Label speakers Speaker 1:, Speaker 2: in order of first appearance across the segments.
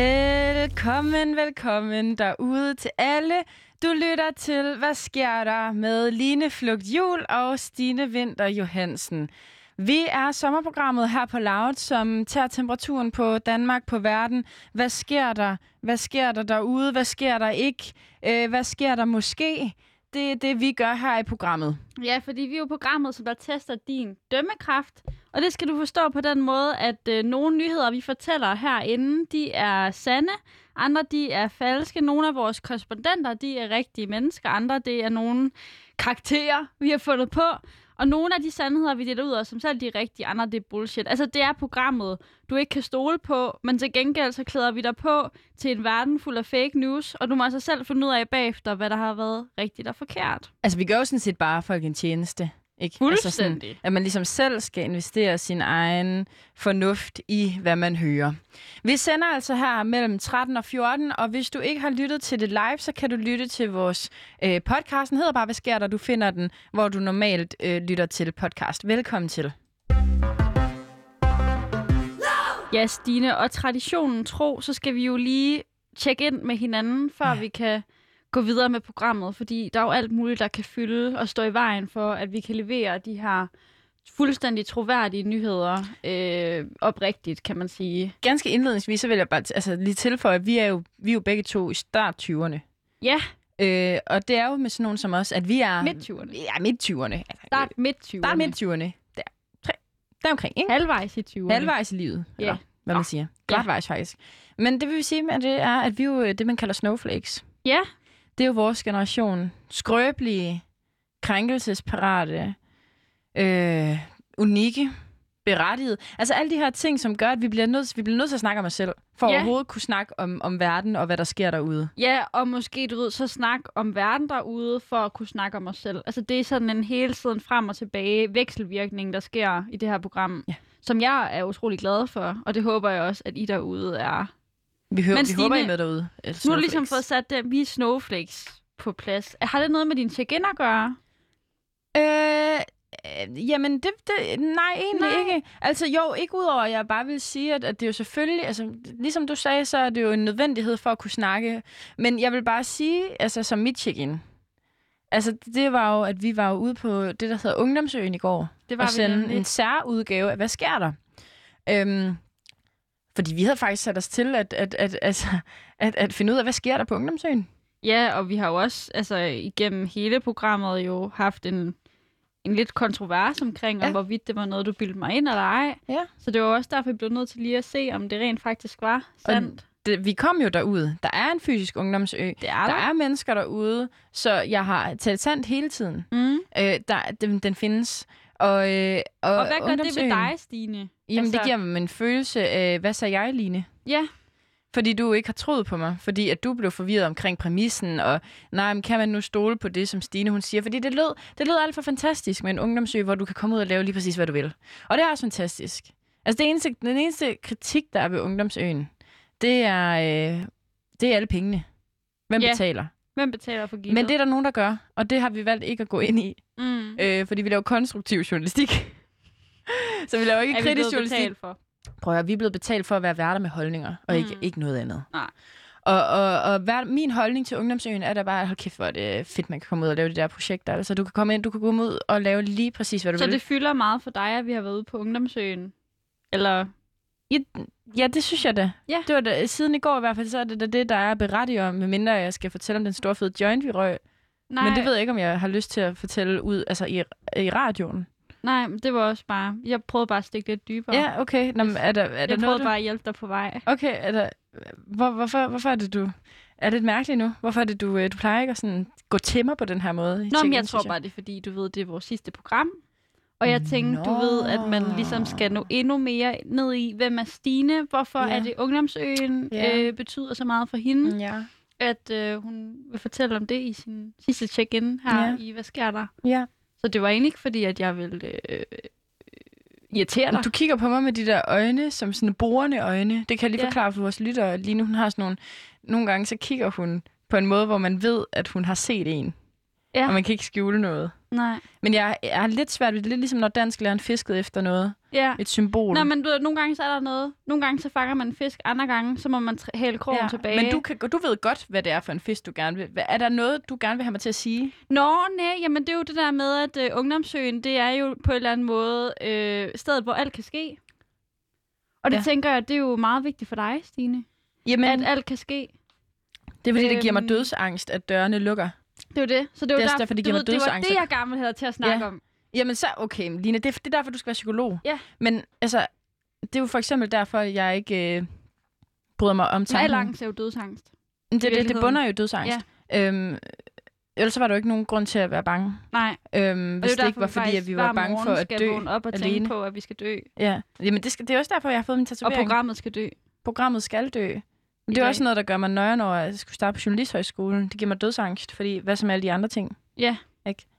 Speaker 1: Velkommen, velkommen derude til alle. Du lytter til Hvad sker der med Line Flugt Jul og Stine Vinter Johansen. Vi er sommerprogrammet her på Loud, som tager temperaturen på Danmark, på verden. Hvad sker der? Hvad sker der derude? Hvad sker der ikke? Øh, hvad sker der måske? Det er det, vi gør her i programmet.
Speaker 2: Ja, fordi vi er jo programmet, som der tester din dømmekraft. Og det skal du forstå på den måde, at øh, nogle nyheder, vi fortæller herinde, de er sande. Andre, de er falske. Nogle af vores korrespondenter, de er rigtige mennesker. Andre, det er nogle karakterer, vi har fundet på. Og nogle af de sandheder, vi deler ud af, som selv de er rigtige, andre det er bullshit. Altså, det er programmet, du ikke kan stole på, men til gengæld så klæder vi dig på til en verden fuld af fake news, og du må altså selv finde ud af bagefter, hvad der har været rigtigt og forkert.
Speaker 1: Altså, vi gør jo sådan set bare folk en tjeneste. Ikke? Altså sådan,
Speaker 2: Fuldstændig.
Speaker 1: at man ligesom selv skal investere sin egen fornuft i, hvad man hører. Vi sender altså her mellem 13 og 14, og hvis du ikke har lyttet til det live, så kan du lytte til vores øh, podcast. Den hedder bare, hvad sker der? Du finder den, hvor du normalt øh, lytter til podcast. Velkommen til.
Speaker 2: Ja, Stine, og traditionen tro, så skal vi jo lige tjekke ind med hinanden, før
Speaker 1: Ja.
Speaker 2: ja. vi kan gå videre med programmet, fordi der er jo alt muligt, der kan fylde og stå i vejen for, at vi kan levere de her fuldstændig troværdige nyheder øh, oprigtigt, kan man sige.
Speaker 1: Ganske indledningsvis, så vil jeg bare t- altså, lige tilføje, at vi er jo, vi er jo begge to i start 20'erne.
Speaker 2: Ja,
Speaker 1: Øh, og det er jo med sådan nogen som os, at vi er...
Speaker 2: midt 20'erne.
Speaker 1: Ja, midt 20'erne. Altså,
Speaker 2: Start midt 20'erne.
Speaker 1: Der er midt 20'erne. Der, tre, der omkring, ikke?
Speaker 2: Halvvejs i 20'erne.
Speaker 1: Halvvejs i livet,
Speaker 2: Ja.
Speaker 1: eller hvad man
Speaker 2: Nå,
Speaker 1: siger.
Speaker 2: ja.
Speaker 1: Godt vejs faktisk. Men det vi vil sige med det er, at vi er jo øh, det, man kalder snowflakes.
Speaker 2: Ja.
Speaker 1: Det er jo vores generation. Skrøbelige, krænkelsesparate, øh, unikke, berettiget. Altså alle de her ting, som gør, at vi bliver nødt, vi bliver nødt til at snakke om os selv, for
Speaker 2: Ja.
Speaker 1: ja. overhovedet kunne snakke om, om verden og hvad der sker derude.
Speaker 2: Ja, og måske du ved, så snak om verden derude, for at kunne snakke om os selv. Altså det er sådan en hele tiden frem og tilbage vekselvirkning, der sker i det her program.
Speaker 1: Ja.
Speaker 2: Som jeg er utrolig glad for, og det håber jeg også, at I derude er.
Speaker 1: Vi, hører,
Speaker 2: Men
Speaker 1: vi
Speaker 2: Stine,
Speaker 1: håber, I er med derude. øh,
Speaker 2: Nu har du ligesom
Speaker 1: snowflakes.
Speaker 2: fået sat det, vi er snowflakes på plads. Har det noget med din check-in at gøre?
Speaker 1: Øh, øh, jamen, det, det, nej, egentlig
Speaker 2: Nej.
Speaker 1: nej. ikke. Altså jo, ikke udover, at jeg bare vil sige, at, at det er jo selvfølgelig, altså ligesom du sagde, så er det jo en nødvendighed for at kunne snakke. Men jeg vil bare sige, altså som mit check-in, altså det var jo, at vi var jo ude på det, der hedder Ungdomsøen i går
Speaker 2: Det
Speaker 1: at sende
Speaker 2: nemlig.
Speaker 1: en særudgave af, hvad sker der? Øhm, fordi vi havde faktisk sat os til at, at, at, altså, at, at finde ud af, hvad sker der på Ungdomsøen?
Speaker 2: Ja, og vi har jo også altså, igennem hele programmet jo haft en, en lidt kontrovers omkring, ja. om
Speaker 1: Ja.
Speaker 2: hvorvidt det var noget, du bildte mig ind eller ej.
Speaker 1: Ja.
Speaker 2: Så det var også derfor, vi blev nødt til lige at se, om det rent faktisk var sandt.
Speaker 1: Det, vi kom jo derud. Der er en fysisk ungdomsø.
Speaker 2: Det er
Speaker 1: Der er mennesker derude, så jeg har talt sandt hele tiden.
Speaker 2: Mm.
Speaker 1: Øh, der, den, den findes. Og, øh,
Speaker 2: Og hvad gør det ved
Speaker 1: Ungdomsøen,
Speaker 2: dig, Stine?
Speaker 1: Jamen, altså...
Speaker 2: Altså-
Speaker 1: det giver mig en følelse af, hvad sagde jeg, Line?
Speaker 2: Ja,
Speaker 1: Fordi du ikke har troet på mig. Fordi at du blev forvirret omkring præmissen, og nej, men kan man nu stole på det, som Stine hun siger? Fordi det lød, det lød alt for fantastisk med en ungdomsø, hvor du kan komme ud og lave lige præcis, hvad du vil. Og det er også fantastisk. Altså, det eneste, den eneste kritik, der er ved ungdomsøen, det er, øh, det er alle pengene. Hvem
Speaker 2: Ja.
Speaker 1: ja. betaler?
Speaker 2: hvem betaler for gildet?
Speaker 1: Men det er der nogen, der gør, og det har vi valgt ikke at gå ind i,
Speaker 2: mm.
Speaker 1: øh, fordi vi laver konstruktiv journalistik. Så vi laver ikke
Speaker 2: er vi
Speaker 1: kritisk
Speaker 2: blevet
Speaker 1: journalistik.
Speaker 2: betalt for.
Speaker 1: Prøv at høre, vi er blevet betalt for at være værter med holdninger, og ikke,
Speaker 2: Mm.
Speaker 1: ikke noget andet.
Speaker 2: Nej.
Speaker 1: Og, og, og hver, min holdning til Ungdomsøen er da bare, hold kæft, hvor er det fedt, man kan komme ud og lave de der projekter. Altså, du kan komme ind, du kan komme ud og lave lige præcis, hvad du
Speaker 2: Så
Speaker 1: vil.
Speaker 2: det fylder meget for dig, at vi har været ude på Ungdomsøen? Eller
Speaker 1: Ja, det synes jeg da.
Speaker 2: Ja.
Speaker 1: Det var da, siden i går i hvert fald, så er det da det, der er berettiget om, medmindre jeg skal fortælle om den store fede joint, vi røg.
Speaker 2: nej,
Speaker 1: Men det ved jeg ikke, om jeg har lyst til at fortælle ud altså i, i radioen.
Speaker 2: nej, men det var også bare... Jeg prøvede bare at stikke lidt dybere.
Speaker 1: Ja, okay. Nå, men er der, er der
Speaker 2: jeg
Speaker 1: noget,
Speaker 2: prøvede
Speaker 1: du...
Speaker 2: bare at hjælpe dig på vej.
Speaker 1: Okay, er der... Hvor, hvorfor, hvorfor er det, du... Er det lidt mærkeligt nu? Hvorfor er det, du, øh, du plejer ikke at sådan gå til mig på den her måde? i
Speaker 2: Nå, men
Speaker 1: check-in,
Speaker 2: jeg tror
Speaker 1: synes
Speaker 2: bare, det er fordi, du ved, det er vores sidste program. Og jeg tænkte, du ved, at man ligesom skal nå endnu mere ned i, hvem er Stine? Hvorfor
Speaker 1: Ja.
Speaker 2: er det Ungdomsøen
Speaker 1: Ja.
Speaker 2: øh, betyder så meget for hende?
Speaker 1: Mm, Ja.
Speaker 2: at øh, hun vil fortælle om det i sin sidste check-in her
Speaker 1: Ja.
Speaker 2: ja. i Hvad sker der?
Speaker 1: ja.
Speaker 2: Så det var egentlig ikke fordi, at jeg ville øh, øh, irritere dig.
Speaker 1: Du kigger på mig med de der øjne, som sådan borende øjne. Det kan jeg lige
Speaker 2: Ja.
Speaker 1: forklare for vores lyttere. Lige nu, hun har sådan nogle... Nogle gange, så kigger hun på en måde, hvor man ved, at hun har set en.
Speaker 2: Ja.
Speaker 1: ja. og man kan ikke skjule noget.
Speaker 2: Nej.
Speaker 1: Men jeg, jeg har lidt svært ved det, lidt ligesom når dansklæreren fiskede efter noget.
Speaker 2: Ja.
Speaker 1: Et symbol.
Speaker 2: Nå, men du, ved, nogle gange så er der noget. Nogle gange så fanger man en fisk, andre gange så må man tr- hælde krogen ja, tilbage.
Speaker 1: Men du, kan, du ved godt, hvad det er for en fisk, du gerne vil. Hvad- Er der noget, du gerne vil have mig til at sige?
Speaker 2: Nå, nej, jamen det er jo det der med, at øh, ungdomsøen, det er jo på en eller anden måde øh, stedet, hvor alt kan ske. Og det
Speaker 1: Ja.
Speaker 2: tænker jeg, det er jo meget vigtigt for dig, Stine.
Speaker 1: Jamen,
Speaker 2: Men, at alt kan ske.
Speaker 1: det er fordi, det giver mig
Speaker 2: øhm,
Speaker 1: dødsangst, at dørene lukker.
Speaker 2: Det er jo det. Så det er jo
Speaker 1: Det er også derfor, det
Speaker 2: du
Speaker 1: giver
Speaker 2: ved,
Speaker 1: mig
Speaker 2: det var
Speaker 1: dødsangst.
Speaker 2: det, jeg gerne ville have dig til at snakke
Speaker 1: Ja.
Speaker 2: om.
Speaker 1: Jamen så, okay, Line, det, er- det er derfor, du skal være psykolog.
Speaker 2: Ja.
Speaker 1: Men altså, det er jo for eksempel derfor, jeg ikke øh, bryder mig om
Speaker 2: Med
Speaker 1: tanken.
Speaker 2: al angst er jo dødsangst.
Speaker 1: Men Det, det, det
Speaker 2: virkeligheden.
Speaker 1: bunder jo i dødsangst. Ja. Øhm, ellers så var der jo ikke nogen grund til at være bange.
Speaker 2: Nej,
Speaker 1: Øhm,
Speaker 2: og
Speaker 1: hvis
Speaker 2: det er
Speaker 1: det,
Speaker 2: jo derfor,
Speaker 1: ikke var,
Speaker 2: vi
Speaker 1: fordi at
Speaker 2: faktisk
Speaker 1: vi var
Speaker 2: hver
Speaker 1: bange for
Speaker 2: morgen
Speaker 1: at
Speaker 2: skal
Speaker 1: dø.
Speaker 2: vågne op og tænke
Speaker 1: alene.
Speaker 2: på, at vi skal dø.
Speaker 1: Ja. Jamen, det, skal, det er også derfor, jeg har fået min
Speaker 2: Og
Speaker 1: tatovering.
Speaker 2: programmet skal dø.
Speaker 1: Programmet skal dø. Men
Speaker 2: I
Speaker 1: det er
Speaker 2: dag.
Speaker 1: også noget, der gør mig nøjeren over, at jeg skulle starte på journalisthøjskolen. Det giver mig dødsangst, fordi hvad som alle de andre ting.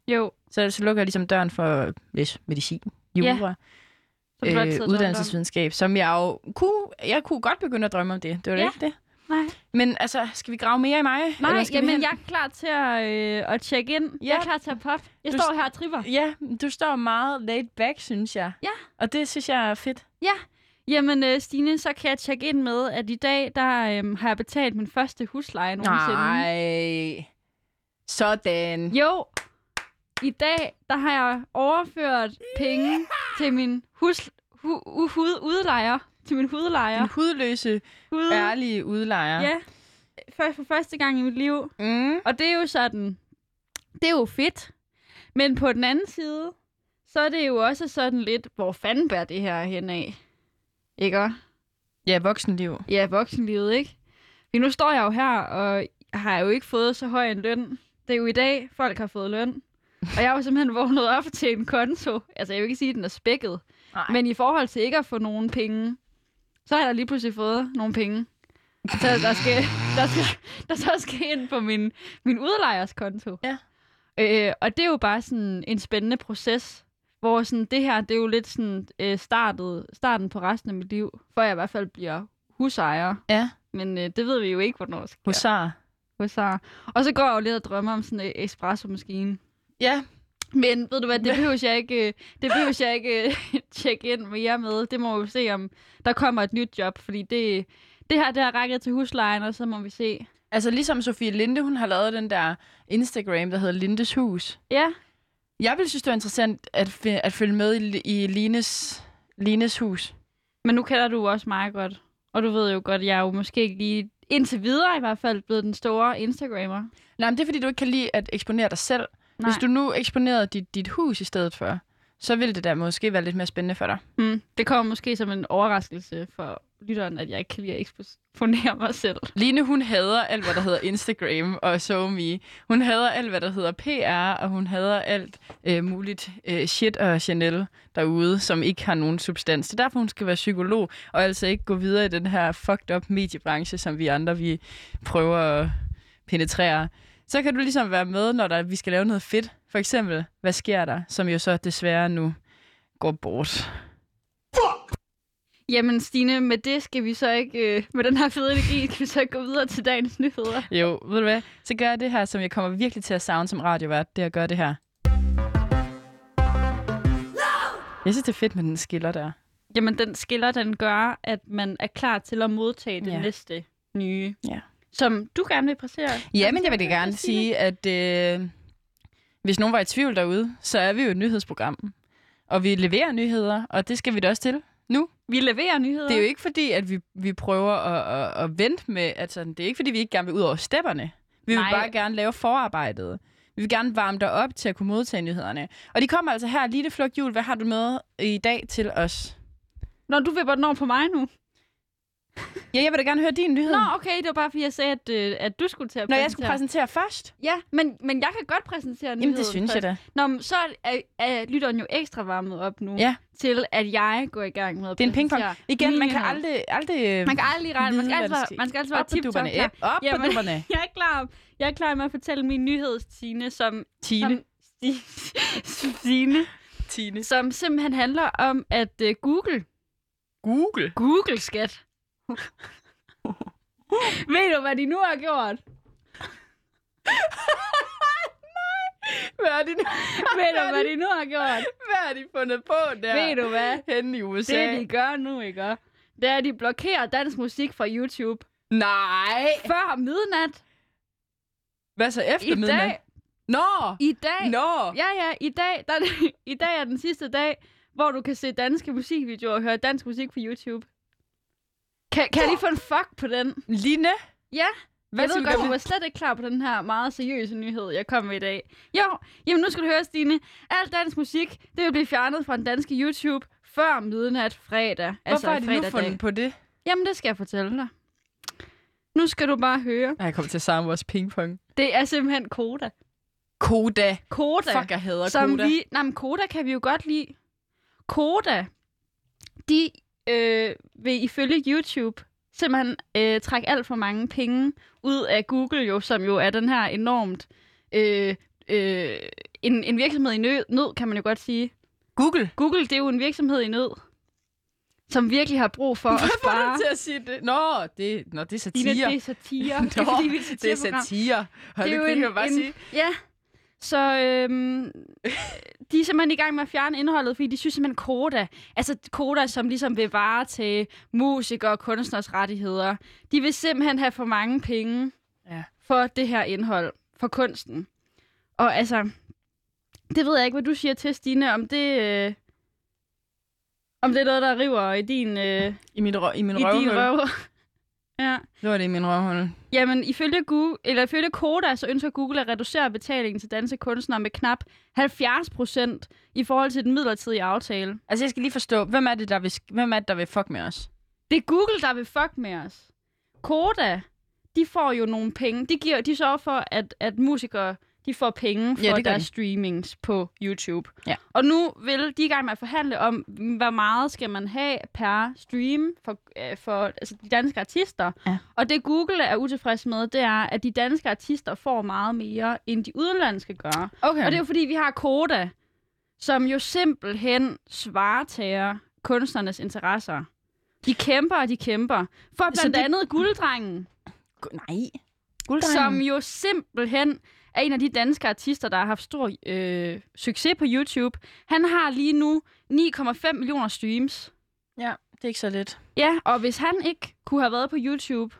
Speaker 2: Jo,
Speaker 1: Så, så lukker jeg ligesom døren for at læse medicin,
Speaker 2: Ja,
Speaker 1: jura,
Speaker 2: så du har altid
Speaker 1: øh,
Speaker 2: drømt om.
Speaker 1: uddannelsesvidenskab, som jeg jo kunne, jeg kunne godt begynde at drømme om det. Det var da
Speaker 2: Ja.
Speaker 1: ikke det.
Speaker 2: Nej.
Speaker 1: Men altså, skal vi grave mere i mig?
Speaker 2: Nej,
Speaker 1: Eller skal vi
Speaker 2: jamen
Speaker 1: hen-
Speaker 2: jeg er klar til at, øh, at tjekke ind. Ja. Jeg er
Speaker 1: Ja.
Speaker 2: klar til at poppe. Jeg
Speaker 1: Du-
Speaker 2: står her og tripper.
Speaker 1: Ja, du står meget laid back, synes jeg.
Speaker 2: Ja.
Speaker 1: Og det synes jeg er fedt.
Speaker 2: Jamen øh, Stine, så kan jeg tjekke ind med, at i dag der øh, har jeg betalt min første husleje nogensinde.
Speaker 1: Nej. Sådan.
Speaker 2: Jo, i dag der har jeg overført penge til min hus, hu, hu, hu, udlejer. Til min hudlejer.
Speaker 1: Den hudløse,
Speaker 2: Hud,
Speaker 1: ærlige udlejer.
Speaker 2: ja. For, for første gang i mit liv.
Speaker 1: Mm.
Speaker 2: Og det er jo sådan, det er jo fedt. Men på den anden side, så er det jo også sådan lidt, hvor fanden bærer det her hen af? Ikke? også?
Speaker 1: Ja, voksenliv.
Speaker 2: Ja, voksenlivet, ikke? Men nu står jeg jo her, og har jo ikke fået så høj en løn. Det er jo i dag, folk har fået løn. Og jeg har jo simpelthen vågnet op til en konto. Altså, jeg vil ikke sige, at den er spækket.
Speaker 1: Nej.
Speaker 2: Men i forhold til ikke at få nogen penge, så har jeg da lige pludselig fået nogle penge. Så der skal, der skal, der så skal ind på min, min udlejers konto.
Speaker 1: Ja.
Speaker 2: Øh, og det er jo bare sådan en spændende proces, hvor sådan, det her, det er jo lidt sådan, øh, startet, starten på resten af mit liv, før jeg i hvert fald bliver husejer.
Speaker 1: Ja.
Speaker 2: Men øh, det ved vi jo ikke, hvornår sker.
Speaker 1: Husar.
Speaker 2: Husar. Og så går jeg jo lidt og drømmer om sådan en espresso-maskine.
Speaker 1: Ja,
Speaker 2: Men ved du hvad, det behøver jeg ikke, øh, det behøver jeg ikke øh, tjekke ind mere med. Det må vi se, om der kommer et nyt job, fordi det, det her, det har rækket til huslejen, og så må vi se.
Speaker 1: altså ligesom Sofie Linde, hun har lavet den der Instagram, der hedder Lindes Hus.
Speaker 2: Ja,
Speaker 1: Jeg ville synes, det var interessant at, fi- at følge med i, i Lines, Lines hus.
Speaker 2: men nu kender du jo også mig godt. Og du ved jo godt, jeg er jo måske ikke lige indtil videre i hvert fald blevet den store Instagrammer.
Speaker 1: Nej, men det er, fordi du ikke kan lide at eksponere dig selv.
Speaker 2: Nej.
Speaker 1: Hvis du nu eksponerede dit, dit hus i stedet for, så ville det da måske være lidt mere spændende for dig.
Speaker 2: Mm, det kommer måske som en overraskelse for lytteren, at jeg ikke kan lide at eksponere mig selv.
Speaker 1: Line, hun hader alt, hvad der hedder Instagram og SoMe. Hun hader alt, hvad der hedder PR, og hun hader alt øh, muligt øh, shit og Chanel derude, som ikke har nogen substans. Det er derfor, hun skal være psykolog, og altså ikke gå videre i den her fucked up mediebranche, som vi andre vi prøver at penetrere. Så kan du ligesom være med, når der, vi skal lave noget fedt. For eksempel, hvad sker der, som jo så desværre nu går bort.
Speaker 2: Jamen Stine, med det skal vi så ikke, øh, med den her fede energi, skal vi så ikke gå videre til dagens nyheder.
Speaker 1: Jo, ved du hvad? Så gør jeg det her, som jeg kommer virkelig til at savne som radiovært, det er at gøre det her. Jeg synes, det er fedt med den skiller der.
Speaker 2: Jamen den skiller, den gør, at man er klar til at modtage det
Speaker 1: Ja.
Speaker 2: næste nye,
Speaker 1: Ja.
Speaker 2: som du gerne vil præsere.
Speaker 1: Ja, men jeg vil da gerne sige, at øh, hvis nogen var i tvivl derude, så er vi jo et nyhedsprogram. Og vi leverer nyheder, og det skal vi da også til.
Speaker 2: Vi leverer nyheder.
Speaker 1: Det er jo ikke fordi, at vi, vi prøver at, at, at vente med, altså det er ikke fordi, vi ikke gerne vil ud over stepperne. Vi vil
Speaker 2: Nej.
Speaker 1: Nej. bare gerne lave forarbejdet. Vi vil gerne varme dig op til at kunne modtage nyhederne. Og de kommer altså her, Lille Flugt Jul, hvad har du med i dag til os?
Speaker 2: Nå, du vipper den over på mig nu.
Speaker 1: Mm. Ja, jeg vil da gerne høre din nyhed.
Speaker 2: Nå, okay, det var bare fordi, jeg sagde, at, øh, at du skulle til at
Speaker 1: Når jeg skulle præsentere først?
Speaker 2: Ja, men, men jeg kan godt præsentere nyheden
Speaker 1: Jamen, det synes
Speaker 2: først.
Speaker 1: jeg da.
Speaker 2: Nå, men så er, er lytteren jo ekstra varmet op nu,
Speaker 1: Ja.
Speaker 2: til at jeg går i gang med at
Speaker 1: Det er en pingpong.
Speaker 2: præsentere
Speaker 1: Igen,
Speaker 2: min
Speaker 1: man kan
Speaker 2: nyhed.
Speaker 1: aldrig... aldrig
Speaker 2: Man kan aldrig regne. Man
Speaker 1: vide,
Speaker 2: skal
Speaker 1: hvad
Speaker 2: altid,
Speaker 1: der
Speaker 2: være-
Speaker 1: sker.
Speaker 2: man skal altid være
Speaker 1: op på dupperne.
Speaker 2: tip-top klar.
Speaker 1: Op op på
Speaker 2: Jamen.
Speaker 1: dupperne.
Speaker 2: Jeg er klar. Jeg er klar med at fortælle min nyhedstine, som
Speaker 1: Tine.
Speaker 2: som, Stine,
Speaker 1: Tine.
Speaker 2: som simpelthen handler om, at øh, Google,
Speaker 1: Google.
Speaker 2: Google skat. Ved du, hvad de nu har gjort?
Speaker 1: Hvad har de,
Speaker 2: Ved du, hvad de nu har gjort?
Speaker 1: hvad har de fundet på der?
Speaker 2: Ja. Ved du hvad?
Speaker 1: Henne i USA.
Speaker 2: Det, de gør nu, ikke? Det er, at de blokerer dansk musik fra YouTube.
Speaker 1: Nej.
Speaker 2: Før midnat.
Speaker 1: Hvad så efter
Speaker 2: I dag.
Speaker 1: midnat? Nå!
Speaker 2: I dag.
Speaker 1: Nå!
Speaker 2: Ja, ja, i dag, der, er det- i dag er den sidste dag, hvor du kan se danske musikvideoer og høre dansk musik på YouTube. Kan, kan jeg lige få en fuck på den?
Speaker 1: Line?
Speaker 2: Ja,
Speaker 1: Hvad skal
Speaker 2: jeg ved
Speaker 1: vi
Speaker 2: godt,
Speaker 1: gøre
Speaker 2: du
Speaker 1: ved-
Speaker 2: var slet ikke klar på den her meget seriøse nyhed, jeg kom med i dag. Jo, jamen nu skal du høre, Stine. Al dansk musik, det vil blive fjernet fra den danske YouTube før midnat Altså, fredag.
Speaker 1: Hvorfor har de nu
Speaker 2: fredagdag.
Speaker 1: fundet på det?
Speaker 2: Jamen, det skal jeg fortælle dig. Nu skal du bare høre.
Speaker 1: Ej, jeg kommer til at savne vores pingpong.
Speaker 2: Det er simpelthen Koda.
Speaker 1: Koda.
Speaker 2: Koda.
Speaker 1: Fuck, jeg hader
Speaker 2: Altså, som
Speaker 1: Koda.
Speaker 2: Vi, nej, men Koda kan vi jo godt lide. Koda, de øh, vil ifølge YouTube simpelthen øh, trække alt for mange penge ud af Google, jo, som jo er den her enormt... Øh, øh, en, en virksomhed i nød, nød, kan man jo godt sige.
Speaker 1: Google.
Speaker 2: Google, det er jo en virksomhed i nød, som virkelig har brug for at
Speaker 1: Hvad får
Speaker 2: spare.
Speaker 1: du til at sige det? Ah. Nå, det, nå, det er
Speaker 2: Dine,
Speaker 1: satire.
Speaker 2: det er satire.
Speaker 1: Nå,
Speaker 2: fordi vi er et
Speaker 1: det er
Speaker 2: satireprogram.
Speaker 1: satire. Hold det, det kan jeg bare sige.
Speaker 2: Ja, så øhm, de er simpelthen i gang med at fjerne indholdet, fordi de synes simpelthen koda, altså koda, som ligesom vil vare til musikere og kunstners rettigheder, de vil simpelthen have for mange penge
Speaker 1: Ja.
Speaker 2: for det her indhold, for kunsten. Og altså, det ved jeg ikke, hvad du siger til, Stine, om det... Øh, om det er noget, der river i din, øh,
Speaker 1: I min, røv, i min
Speaker 2: i din
Speaker 1: røvhul.
Speaker 2: røv. ja.
Speaker 1: Nu er det i min røvhul.
Speaker 2: Jamen, ifølge, Google, eller ifølge Koda, så ønsker Google at reducere betalingen til danske kunstnere med knap 70 procent i forhold til den midlertidige aftale.
Speaker 1: Altså, jeg skal lige forstå, hvem er det, der vil, sk- hvem er det, der vil fuck med os?
Speaker 2: Det er Google, der vil fuck med os. Koda, de får jo nogle penge. De, giver, de sørger for, at, at musikere de får penge for
Speaker 1: Ja,
Speaker 2: ja,
Speaker 1: det gør
Speaker 2: deres
Speaker 1: de.
Speaker 2: streamings på YouTube.
Speaker 1: Ja.
Speaker 2: Og nu vil de i gang med at forhandle om, hvor meget skal man have per stream for, øh, for altså, de danske artister.
Speaker 1: Ja.
Speaker 2: Og det Google er utilfreds med, det er, at de danske artister får meget mere, end de udenlandske gør.
Speaker 1: Okay.
Speaker 2: Og det er jo fordi, vi har Koda, som jo simpelthen svaretager kunstnernes interesser. De kæmper, og de kæmper. For
Speaker 1: Så
Speaker 2: blandt
Speaker 1: det-
Speaker 2: andet Gulddrengen,
Speaker 1: Nej.
Speaker 2: som
Speaker 1: Gulddrengen.
Speaker 2: jo simpelthen er en af de danske artister, der har haft stor øh, succes på YouTube. Han har lige nu 9,5 millioner streams.
Speaker 1: Ja, det er ikke så let.
Speaker 2: Ja, og hvis han ikke kunne have været på YouTube,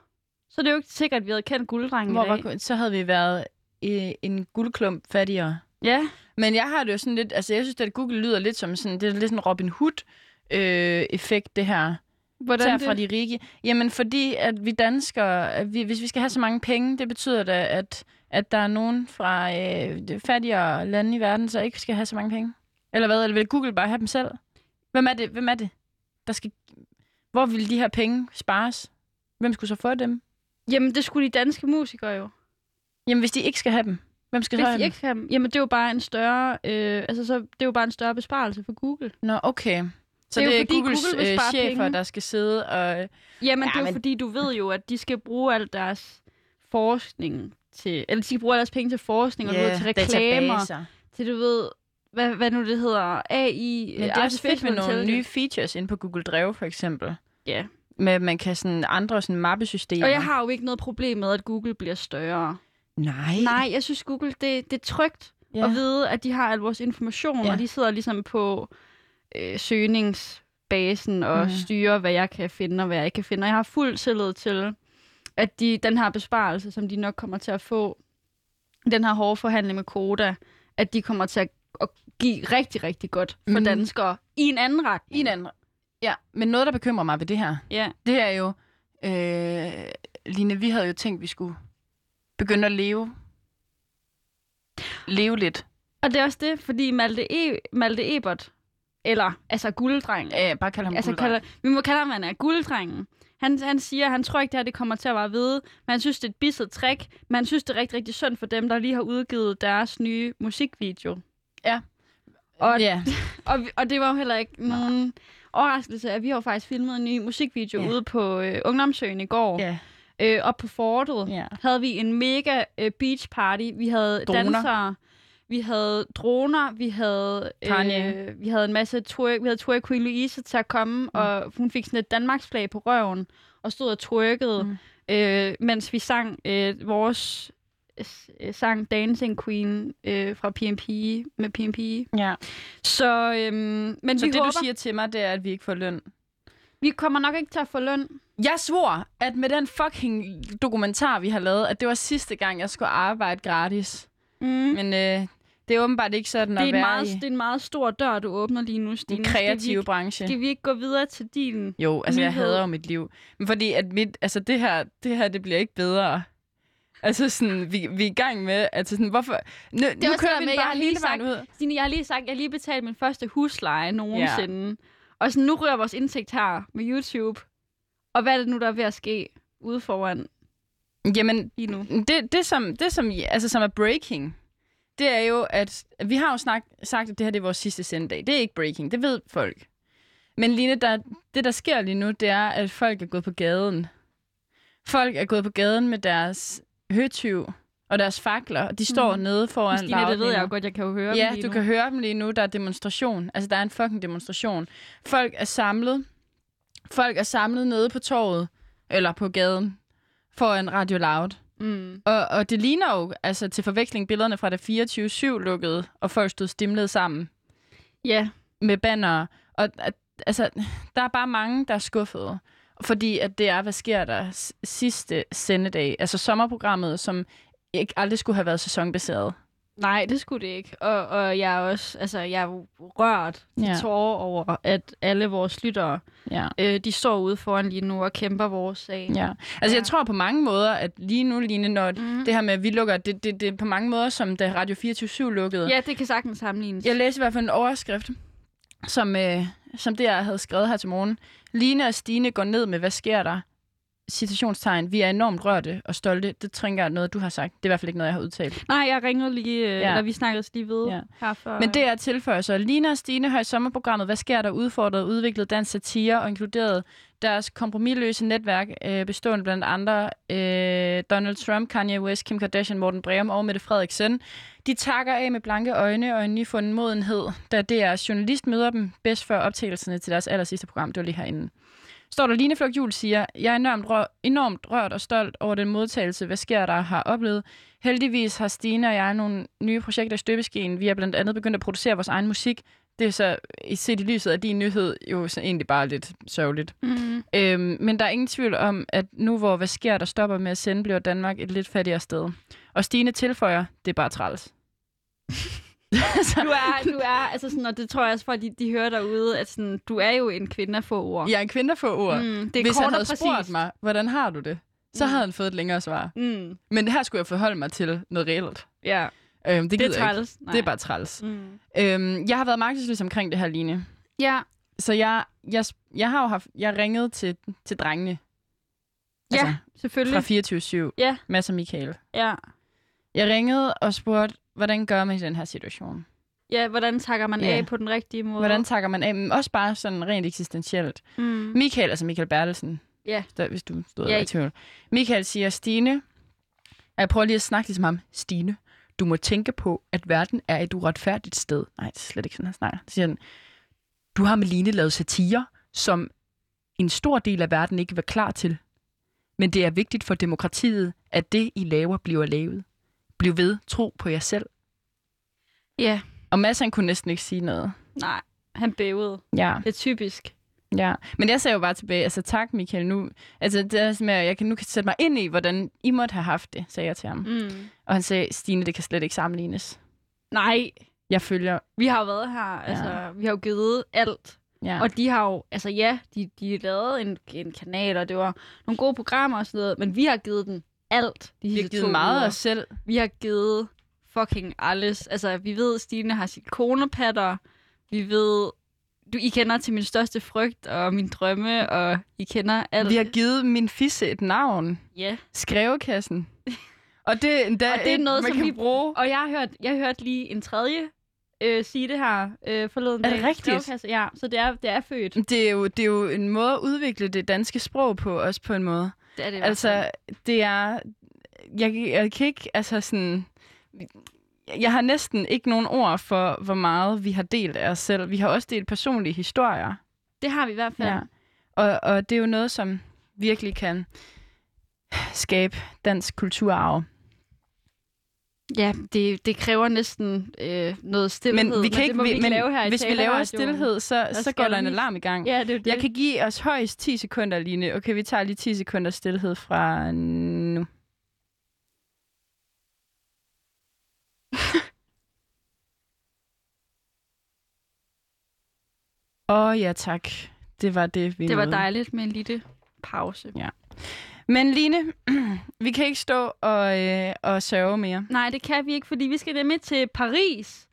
Speaker 2: så er det jo ikke sikkert, at vi havde kendt Gulddrengen
Speaker 1: Hvor
Speaker 2: i dag.
Speaker 1: var, så havde vi været øh, en guldklump fattigere.
Speaker 2: Ja,
Speaker 1: Men jeg har det jo sådan lidt, altså jeg synes, at Google lyder lidt som sådan, det er lidt sådan Robin Hood-effekt, det her.
Speaker 2: hvordan
Speaker 1: Tager
Speaker 2: det?
Speaker 1: fra de rige. Jamen fordi, at vi danskere, at vi, hvis vi skal have så mange penge, det betyder da, at, at der er nogen fra øh, de fattigere lande i verden, så ikke skal have så mange penge. Eller hvad? Eller vil Google bare have dem selv? Hvem er det? Hvem er det? Der skal... Hvor vil de her penge spares? Hvem skulle så få dem?
Speaker 2: Jamen, det skulle de danske musikere jo.
Speaker 1: Jamen hvis de ikke skal have dem, hvem skal så
Speaker 2: Hvis
Speaker 1: have
Speaker 2: de
Speaker 1: dem?
Speaker 2: ikke kan, jamen det er jo bare en større, øh, altså så det er jo bare en større besparelse for Google.
Speaker 1: Nå, okay. Så det er,
Speaker 2: Det er jo
Speaker 1: det er
Speaker 2: fordi,
Speaker 1: Googles
Speaker 2: Google vil
Speaker 1: øh,
Speaker 2: spare
Speaker 1: chefer,
Speaker 2: penge.
Speaker 1: der skal sidde og...
Speaker 2: Jamen
Speaker 1: Ja,
Speaker 2: ja, det er jo
Speaker 1: men-
Speaker 2: fordi, du ved jo, at de skal bruge al deres forskning til, eller de skal bruge al deres penge til forskning, og du ved, til reklamer, til du ved, hvad, hvad nu det hedder, AI,
Speaker 1: Men det er også fedt med
Speaker 2: artificial
Speaker 1: nogle nye
Speaker 2: intelligence.
Speaker 1: features inde på Google Drive, for eksempel.
Speaker 2: Ja.
Speaker 1: Med, at man kan sådan andre sådan mappesystemer.
Speaker 2: Og jeg har jo ikke noget problem med, at Google bliver større.
Speaker 1: Nej.
Speaker 2: Nej, jeg synes, Google, det, det er trygt
Speaker 1: Ja.
Speaker 2: ja. at vide, at de har al vores information,
Speaker 1: Ja.
Speaker 2: ja. og de sidder ligesom på øh, søgningsbasen og
Speaker 1: Mhm.
Speaker 2: mm. styrer, hvad jeg kan finde og hvad jeg ikke kan finde. Og jeg har fuld tillid til, at de, den her besparelse, som de nok kommer til at få, den her hårde forhandling med Koda, at de kommer til at, at give rigtig, rigtig godt for
Speaker 1: Mhm.
Speaker 2: mm. danskere i en anden retning.
Speaker 1: I en anden. Ja, men noget, der bekymrer mig ved det her,
Speaker 2: Ja.
Speaker 1: det er jo... Øh, Line, vi havde jo tænkt, vi skulle begynde at leve. Leve lidt.
Speaker 2: Og det er også det, fordi Malte, e- Malte Ebert, eller altså gulddrengen,
Speaker 1: Ja, Øh, bare kalde ham
Speaker 2: altså,
Speaker 1: Google Drive.
Speaker 2: kalder, vi må kalde ham, at han er gulddrengen. Han, han siger, at han tror ikke, det her det kommer til at være ved, men han synes, det er et bisset trick, men han synes, det er rigtig, rigtig synd for dem, der lige har udgivet deres nye musikvideo.
Speaker 1: Ja.
Speaker 2: Og,
Speaker 1: Ja,
Speaker 2: og, vi- og det var jo heller ikke
Speaker 1: Nej.
Speaker 2: nogen overraskelse, at vi har jo faktisk filmet en ny musikvideo
Speaker 1: Ja.
Speaker 2: ja. ude på øh, Ungdomsøen i går,
Speaker 1: ja,
Speaker 2: øh, op på fortet
Speaker 1: ja.
Speaker 2: havde vi en mega øh, beach party. Vi havde
Speaker 1: Droner.
Speaker 2: droner. dansere, vi havde droner, vi havde
Speaker 1: Kanye.
Speaker 2: øh, vi havde en masse twerk, vi havde twerk Queen Louise til at komme, mm. og hun fik sådan et Danmarks flag på røven og stod og twerkede, mm. øh, mens vi sang øh, vores øh, sang Dancing Queen øh, fra PMP med PMP.
Speaker 1: Ja.
Speaker 2: Så, øhm, men
Speaker 1: Så
Speaker 2: vi
Speaker 1: det,
Speaker 2: håber,
Speaker 1: du siger til mig, det er, at vi ikke får løn.
Speaker 2: vi kommer nok ikke til at få løn.
Speaker 1: Jeg svor, at med den fucking dokumentar, vi har lavet, at det var sidste gang, jeg skulle arbejde gratis.
Speaker 2: Mm.
Speaker 1: Men øh, det er åbenbart ikke sådan
Speaker 2: det, er
Speaker 1: at
Speaker 2: en
Speaker 1: være
Speaker 2: meget,
Speaker 1: i
Speaker 2: det er en meget stor dør, du åbner lige nu, Stine.
Speaker 1: den
Speaker 2: Skal vi,
Speaker 1: kreative
Speaker 2: ikke-
Speaker 1: branche.
Speaker 2: skal vi ikke gå videre til din?
Speaker 1: Jo, altså jeg
Speaker 2: nyhed?
Speaker 1: hader jo mit liv. Men fordi at mit, altså det her, det her, det bliver ikke bedre. Altså sådan, vi, vi er i gang med, altså sådan, hvorfor... Nu, det nu
Speaker 2: også
Speaker 1: kører
Speaker 2: det
Speaker 1: vi
Speaker 2: med,
Speaker 1: med,
Speaker 2: jeg
Speaker 1: bare
Speaker 2: har
Speaker 1: hele
Speaker 2: lige
Speaker 1: vejen
Speaker 2: sagt-
Speaker 1: ud.
Speaker 2: Stine, jeg har lige sagt, jeg har lige betalt min første husleje nogensinde. Og sådan, nu ryger vores indtægt her med YouTube. Og hvad er det nu, der er ved at ske ude foran
Speaker 1: Jamen,
Speaker 2: lige nu?
Speaker 1: det, det, som, det som, altså, som er breaking, det er jo, at vi har jo snak, sagt, at det her det er vores sidste sendedag. Det er ikke breaking, det ved folk. Men Line, der, det der sker lige nu, det er, at folk er gået på gaden. Folk er gået på gaden med deres høtyv og deres fakler, og de står mm. nede foran
Speaker 2: Stine, Mhm. det
Speaker 1: Loud
Speaker 2: ved
Speaker 1: lige
Speaker 2: jeg
Speaker 1: nu.
Speaker 2: jo godt, jeg kan jo høre dem
Speaker 1: Ja,
Speaker 2: lige
Speaker 1: du
Speaker 2: nu.
Speaker 1: kan høre dem lige nu. Der er demonstration. Altså, der er en fucking demonstration. Folk er samlet. Folk er samlet nede på torvet, eller på gaden, foran Radio Loud.
Speaker 2: Mm.
Speaker 1: Og, og det ligner jo altså, til forveksling billederne fra da 24-7 lukkede, og folk stod stimlet sammen
Speaker 2: Ja,
Speaker 1: med banner. Og at, altså, der er bare mange, der er skuffede. Fordi at det er, hvad sker der s- sidste sendedag? Altså sommerprogrammet, som ikke aldrig skulle have været sæsonbaseret.
Speaker 2: nej, det skulle det ikke. Og, og jeg er også, altså, jeg er jo rørt til
Speaker 1: Ja.
Speaker 2: ja. tårer over, at alle vores lyttere,
Speaker 1: Ja.
Speaker 2: øh, de står ude foran lige nu og kæmper vores sag.
Speaker 1: ja. Mm-hmm. Altså jeg
Speaker 2: Ja.
Speaker 1: tror på mange måder, at lige nu, Line, når
Speaker 2: Mm.
Speaker 1: det her med, at vi lukker, det, det, det er på mange måder, som da Radio 24-7 lukkede.
Speaker 2: Ja, det kan sagtens sammenlignes.
Speaker 1: Jeg læste i hvert fald en overskrift, som, øh, som det, jeg havde skrevet her til morgen. Line og Stine går ned med, hvad sker der? Citationstegn. Vi er enormt rørte og stolte. Det trænger noget, du har sagt. Det er i hvert fald ikke noget, jeg har udtalt.
Speaker 2: Nej, jeg ringede lige, øh,
Speaker 1: Ja.
Speaker 2: ja. eller vi snakkede lige ved
Speaker 1: Ja.
Speaker 2: ja. her for...
Speaker 1: Men det er tilføjer så. Line og Stine har i sommerprogrammet, hvad sker der, udfordret, udviklet dansk satire og inkluderet deres kompromilløse netværk, øh, bestående blandt andre øh, Donald Trump, Kanye West, Kim Kardashian, Morten Breum og Mette Frederiksen. De takker af med blanke øjne og en nyfunden modenhed, da det er journalist møder dem bedst før optagelserne til deres aller sidste program. Det var lige herinde. Står der Line Flok Jul siger, jeg er enormt, rør, enormt rørt og stolt over den modtagelse, hvad sker der har oplevet. Heldigvis har Stine og jeg nogle nye projekter i støbeskeen. Vi er blandt andet begyndt at producere vores egen musik. Det er så set i lyset af din nyhed jo så egentlig bare lidt sørgeligt.
Speaker 2: Mm.
Speaker 1: Øhm, men der er ingen tvivl om, at nu hvor hvad sker der stopper med at sende, bliver Danmark et lidt fattigere sted. Og Stine tilføjer, det er bare træls.
Speaker 2: Du er, du er, altså sådan, og det tror jeg også, for at de, de hører derude, at sådan, du er jo en kvinde af få ord.
Speaker 1: Jeg er en kvinde for ord. Mm,
Speaker 2: Mm, det er
Speaker 1: Hvis
Speaker 2: kort
Speaker 1: han
Speaker 2: og
Speaker 1: havde
Speaker 2: præcist.
Speaker 1: spurgt mig, hvordan har du det, så
Speaker 2: Mm.
Speaker 1: havde han fået et længere svar.
Speaker 2: Mm,
Speaker 1: Men her skulle jeg forholde mig til noget reelt.
Speaker 2: ja,
Speaker 1: Øhm, det,
Speaker 2: det, er
Speaker 1: gider jeg ikke.
Speaker 2: træls. Nej.
Speaker 1: Det er bare træls.
Speaker 2: Mm.
Speaker 1: Øhm, jeg har været magtesløs omkring det her, Line.
Speaker 2: Ja,
Speaker 1: Så jeg, jeg, jeg har jo haft, jeg ringede til, til drengene.
Speaker 2: Ja,
Speaker 1: altså,
Speaker 2: selvfølgelig.
Speaker 1: fra 24-7.
Speaker 2: Ja.
Speaker 1: Mads og Michael.
Speaker 2: Ja.
Speaker 1: Jeg ringede og spurgte, hvordan gør man i den her situation?
Speaker 2: ja, hvordan takker man
Speaker 1: Ja.
Speaker 2: af på den rigtige måde?
Speaker 1: Hvordan takker man af? Men også bare sådan rent eksistentielt.
Speaker 2: Mm.
Speaker 1: Michael, altså Michael Bertelsen.
Speaker 2: Ja.
Speaker 1: Der, hvis du stod
Speaker 2: Ja.
Speaker 1: i tvivl. Michael siger, Stine, jeg prøver lige at snakke lidt som ham. Stine, du må tænke på, at verden er et uretfærdigt sted. Nej, det er slet ikke sådan, han snakker. Så siger han, du har med Line lavet satire, som en stor del af verden ikke var klar til. Men det er vigtigt for demokratiet, at det, I laver, bliver lavet. Bliv ved, tro på jer selv.
Speaker 2: Ja,
Speaker 1: Og Mads, han kunne næsten ikke sige noget.
Speaker 2: nej, han bævede.
Speaker 1: Ja.
Speaker 2: Det er typisk.
Speaker 1: Ja, men jeg sagde jo bare tilbage, altså tak Michael, nu, altså det er sådan, at jeg kan, nu kan sætte mig ind i, hvordan I måtte have haft det, sagde jeg til ham. Mm.
Speaker 2: Mm.
Speaker 1: Og han sagde, Stine, det kan slet ikke sammenlignes.
Speaker 2: Nej,
Speaker 1: Jeg følger,
Speaker 2: vi har jo været her, altså, vi har jo givet alt
Speaker 1: ja, og
Speaker 2: Og de har jo, altså ja, de, de lavede en, en kanal, og det var nogle gode programmer og sådan noget, men vi har givet den alt. De
Speaker 1: vi har
Speaker 2: sidste
Speaker 1: givet
Speaker 2: to
Speaker 1: meget af
Speaker 2: uger.
Speaker 1: os selv.
Speaker 2: Vi har givet fucking alles. Altså, vi ved, Stine har silikonepatter. Vi ved, du, I kender til min største frygt og min drømme, og I kender alt.
Speaker 1: Vi har givet min fisse et navn,
Speaker 2: Ja.
Speaker 1: skrevekassen. Og det, er endda
Speaker 2: Og det er
Speaker 1: et,
Speaker 2: noget,
Speaker 1: man
Speaker 2: som
Speaker 1: kan
Speaker 2: vi-
Speaker 1: bruge.
Speaker 2: Og jeg har hørt, jeg hørte lige en tredje øh, sige det her øh, forleden
Speaker 1: Er det
Speaker 2: dag.
Speaker 1: rigtigt? Mm.
Speaker 2: Snøvkasse, Ja, så det er, det er født.
Speaker 1: Det er, jo, det er jo en måde at udvikle det danske sprog på, også på en måde.
Speaker 2: Det er det i hvert fald.
Speaker 1: Altså, det er... Jeg, jeg kan ikke... Altså sådan... Jeg har næsten ikke nogen ord for, hvor meget vi har delt af os selv. Vi har også delt personlige historier.
Speaker 2: det har vi i hvert fald. Ja.
Speaker 1: Og, og det er jo noget, som virkelig kan skabe dansk kulturarv.
Speaker 2: Ja, det, det kræver næsten øh, noget stillhed.
Speaker 1: Men vi kan
Speaker 2: det
Speaker 1: ikke,
Speaker 2: må vi ikke
Speaker 1: men
Speaker 2: lave her i
Speaker 1: hvis vi laver
Speaker 2: taleradioen.
Speaker 1: stillhed, så, så
Speaker 2: skal
Speaker 1: går der
Speaker 2: der
Speaker 1: en
Speaker 2: lige-
Speaker 1: alarm i gang.
Speaker 2: Ja, det er jo det.
Speaker 1: Jeg kan give os højst 10 sekunder, Line. Okay, vi tager lige 10 sekunder stillhed fra nu. Åh oh, ja, tak. Det var det, vi
Speaker 2: Det var
Speaker 1: nåede.
Speaker 2: dejligt med en lille pause.
Speaker 1: Men Line, vi kan ikke stå og, øh, og sørge mere.
Speaker 2: Nej, det kan vi ikke, fordi vi skal nemlig til Paris.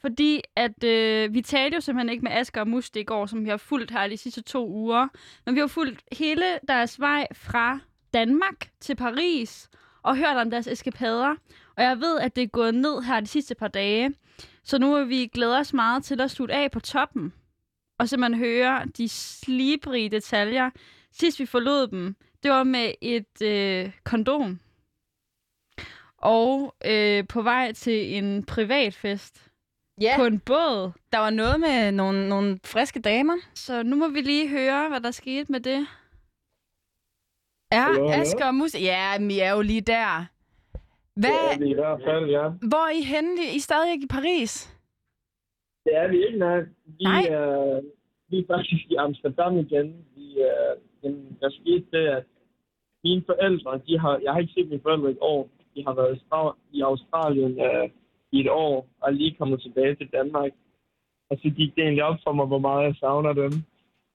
Speaker 2: Fordi at øh, vi talte jo simpelthen ikke med Asger og Muste i går, som vi har fulgt her de sidste to uger. Men vi har fulgt hele deres vej fra Danmark til Paris og hørt om deres eskapader. Og jeg ved, at det er gået ned her de sidste par dage. Så nu vil vi glæde os meget til at slutte af på toppen. Og simpelthen høre de slibrige detaljer. Sidst vi forlod dem, det var med et øh, kondom. Og øh, på vej til en privatfest
Speaker 1: Ja.
Speaker 2: på en båd.
Speaker 1: Der var noget med nogle, nogle friske damer.
Speaker 2: Så nu må vi lige høre, hvad der skete med det.
Speaker 1: Ja,
Speaker 3: Hallo, hallo?
Speaker 1: Asger og Mus. Ja, vi er jo lige der.
Speaker 3: Det
Speaker 1: Hvad,
Speaker 3: er vi i hvert fald, ja.
Speaker 1: hvor er I henne? I er stadig ikke i Paris?
Speaker 3: Det er vi ikke, nej. Vi,
Speaker 1: Nej.
Speaker 3: Øh, vi er faktisk i Amsterdam igen. Vi, øh, jamen, der skete det, at mine forældre, de har, jeg har ikke set mine forældre i et år. De har været i Stra- i Australien øh, i et år, og er lige kommet tilbage til Danmark. Og så gik det egentlig op for mig, hvor meget jeg savner dem.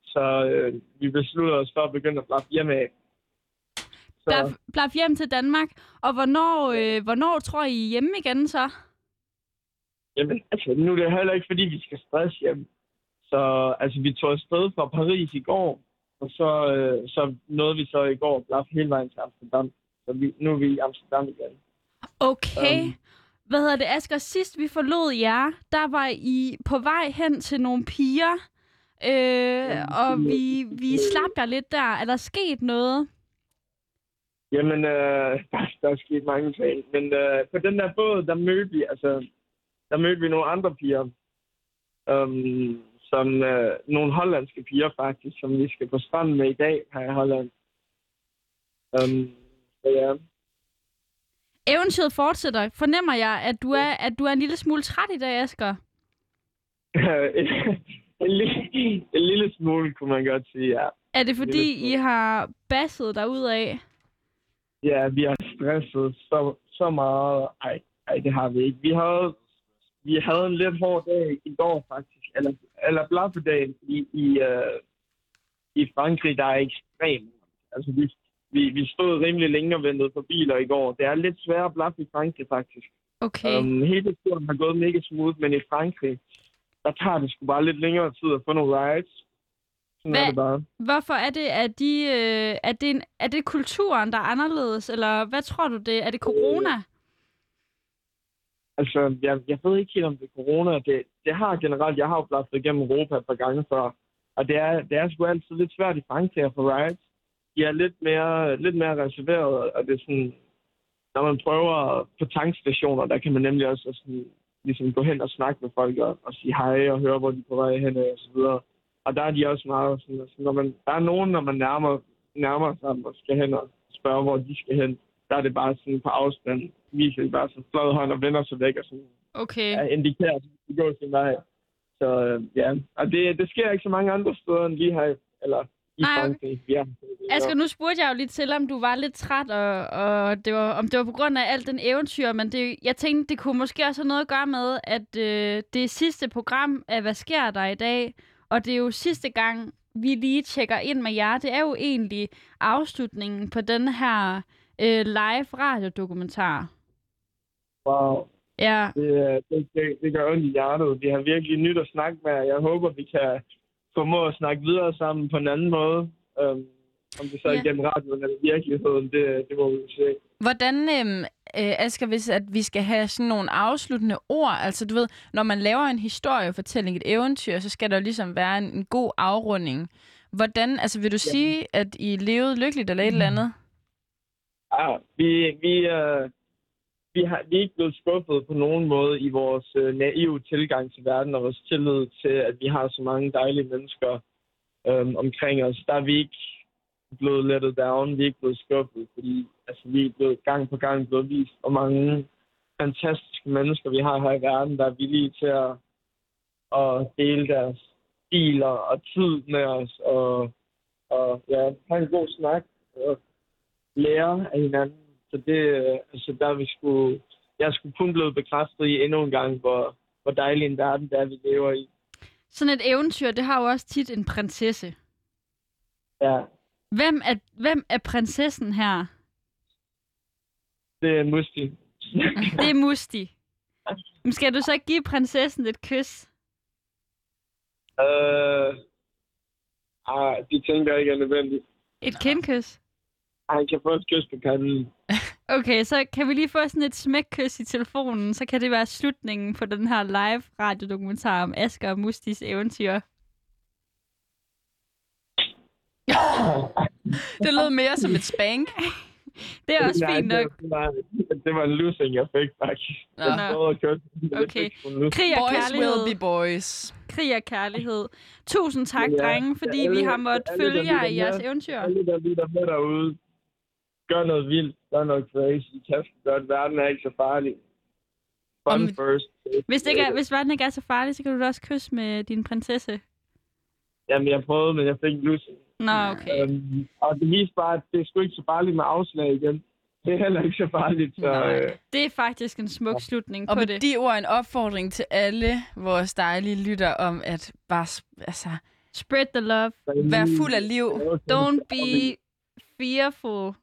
Speaker 3: Så øh, vi besluttede os for at begynde at blaffe hjemme af. Så,
Speaker 2: Der blev hjem til Danmark. Og hvornår, øh, hvornår tror I I er hjemme igen så?
Speaker 3: Jamen, altså, nu er det heller ikke, fordi vi skal stresse hjem. Så altså, vi tog afsted fra Paris i går, og så, øh, så nåede vi så i går og blaf hele vejen til Amsterdam. Så vi, nu er vi i Amsterdam igen.
Speaker 2: Okay. Um.
Speaker 3: Øhm.
Speaker 2: Hvad hedder det, Asger? Sidst vi forlod jer, der var I på vej hen til nogle piger. Øh, og vi, vi slap jer lidt der. Er der sket noget?
Speaker 3: Jamen, øh, der, der er sket mange ting. Men øh, på den der båd, der mødte vi, altså, der mødte vi nogle andre piger. Um, som øh, nogle hollandske piger faktisk, som vi skal på stranden med i dag her i Holland. Um, så ja.
Speaker 2: Eventyret fortsætter. Fornemmer jeg, at du er, at du er en lille smule træt i dag, Asger?
Speaker 3: en, lille, en lille smule, kunne man godt sige, ja.
Speaker 2: Er det
Speaker 3: Lille
Speaker 2: fordi, I
Speaker 3: smule.
Speaker 2: har basset dig ud af?
Speaker 3: Ja, vi har stresset så, så meget. Ej, ej, det har vi ikke. Vi havde, vi havde en lidt hård dag i går, faktisk. Eller, eller blaffedag i, i, øh, i Frankrig, der er ekstremt. Altså, vi, vi, vi stod rimelig længe og ventede på biler i går. Det er lidt sværere at blaffe i Frankrig, faktisk.
Speaker 2: Okay.
Speaker 3: Okay. Um, hele turen har gået mega smooth, men i Frankrig, der tager det sgu bare lidt længere tid at få nogle rides. Sådan
Speaker 2: Hvad-
Speaker 3: er det bare.
Speaker 2: Hvorfor er det, at de, øh, er, det en, er det kulturen, der er anderledes, eller hvad tror du det? Er det corona?
Speaker 3: Altså, jeg, jeg ved ikke helt, om det er corona. Det, det har generelt, jeg har jo blaffet igennem Europa et par gange før, og det er, det er sgu altid lidt svært i Frankrig at få rides. De er lidt mere, lidt mere reserveret, og det er sådan, når man prøver på tankstationer, der kan man nemlig også sådan, ligesom gå hen og snakke med folk og, og sige hej og høre, hvor de er på vej hen og så videre. Og der er de også meget sådan, altså, når man, der er nogen, når man nærmer, nærmer sig dem og skal hen og spørge, hvor de skal hen, der er det bare sådan på afstand, viser de bare sådan flad hånd og vender sig væk og sådan
Speaker 2: Okay.
Speaker 3: ja, indikerer, at de skal gå sin vej. Så øh, ja, og det, det sker ikke så mange andre steder end lige her, eller i
Speaker 2: Nej, okay.
Speaker 3: Frankrig. Ja.
Speaker 2: Asger, nu spurgte jeg jo lige til, om du var lidt træt, og, og det var, om det var på grund af alt den eventyr, men det, jeg tænkte, det kunne måske også have noget at gøre med, at øh, det er sidste program af Hvad sker der i dag, og det er jo sidste gang, vi lige tjekker ind med jer. Det er jo egentlig afslutningen på den her øh, live radiodokumentar.
Speaker 3: Wow.
Speaker 2: Ja,
Speaker 3: Det, øh, det, det, det gør ondt i hjertet. Vi har virkelig nyt at snakke med, og jeg håber, vi kan formå at snakke videre sammen på en anden måde. Um, om det så er
Speaker 2: Ja.
Speaker 3: igennem radioen eller virkeligheden, det, det må vi se.
Speaker 1: Hvordan, øhm, øh, Asger, hvis at vi skal have sådan nogle afsluttende ord, altså du ved, når man laver en historiefortælling, et eventyr, så skal der jo ligesom være en, en god afrunding. Hvordan, altså vil du sige, at I levede lykkeligt eller et eller andet?
Speaker 3: Ja, Ah, vi, vi, øh, vi, har, vi er ikke blevet skuffet på nogen måde i vores øh, naive tilgang til verden og vores tillid til, at vi har så mange dejlige mennesker øh, omkring os. Der er vi ikke blevet lettet down, vi er ikke blevet skuffet, fordi altså, vi er blevet gang på gang blevet vist, hvor mange fantastiske mennesker, vi har her i verden, der er villige til at, at dele deres stiler og tid med os, og, og ja, have en god snak og lære af hinanden. Så det, øh, altså der er vi skulle, jeg skulle kun blive bekræftet i endnu en gang, hvor, hvor dejlig en verden der vi lever i.
Speaker 2: Sådan et eventyr, det har jo også tit en prinsesse.
Speaker 3: Ja,
Speaker 2: Hvem er, hvem er prinsessen her?
Speaker 3: det er en musti.
Speaker 2: Det er Musti. Men skal du så ikke give prinsessen et kys?
Speaker 3: Øh, ah, det tænker jeg ikke er nødvendigt.
Speaker 2: Et kindkys?
Speaker 3: Ej, Han kan få et kys på kanden.
Speaker 2: Okay, så kan vi lige få sådan et smækkys i telefonen, så kan det være slutningen på den her live radiodokumentar om Asger og Mustis eventyr.
Speaker 1: Det lød mere som et spank.
Speaker 2: Det er også fint
Speaker 3: det
Speaker 2: nok.
Speaker 3: var- Det var, det var en losing, jeg fik faktisk.
Speaker 1: Nå.
Speaker 3: Jeg prøvede at kysse. men jeg
Speaker 2: Okay.
Speaker 3: fik sgu en losing.
Speaker 2: Krig og
Speaker 1: Boys will be
Speaker 2: kærlighed.
Speaker 1: boys.
Speaker 2: Krig og kærlighed. Tusind tak,
Speaker 3: Ja,
Speaker 2: drenge, fordi
Speaker 3: alle-
Speaker 2: vi har måttet
Speaker 3: alle, der
Speaker 2: følge jer i
Speaker 3: lytter med.
Speaker 2: jeres eventyr.
Speaker 3: Alle, der lytter med derude, gør noget vildt. Gør noget crazy. Kæft, gør det. verden er ikke så farlig. Fun
Speaker 1: Om-
Speaker 3: first.
Speaker 2: Hvis, det ikke er, hvis verden ikke er så farlig, så kan du da også kysse med din prinsesse.
Speaker 3: Jamen, jeg prøvede, men jeg fik en losing.
Speaker 2: Nå, okay.
Speaker 3: Øhm, og det viste bare, at det er sgu ikke så farligt med afslag igen. Det er heller ikke så farligt. Så,
Speaker 1: Nej.
Speaker 3: øh,
Speaker 2: Det er faktisk en smuk slutning
Speaker 1: Og
Speaker 2: på
Speaker 1: med
Speaker 2: det.
Speaker 1: de ord en opfordring til alle vores dejlige lytter om at bare sp- altså,
Speaker 2: Spread the love.
Speaker 3: så
Speaker 1: være fuld af liv.
Speaker 2: Don't be fearful.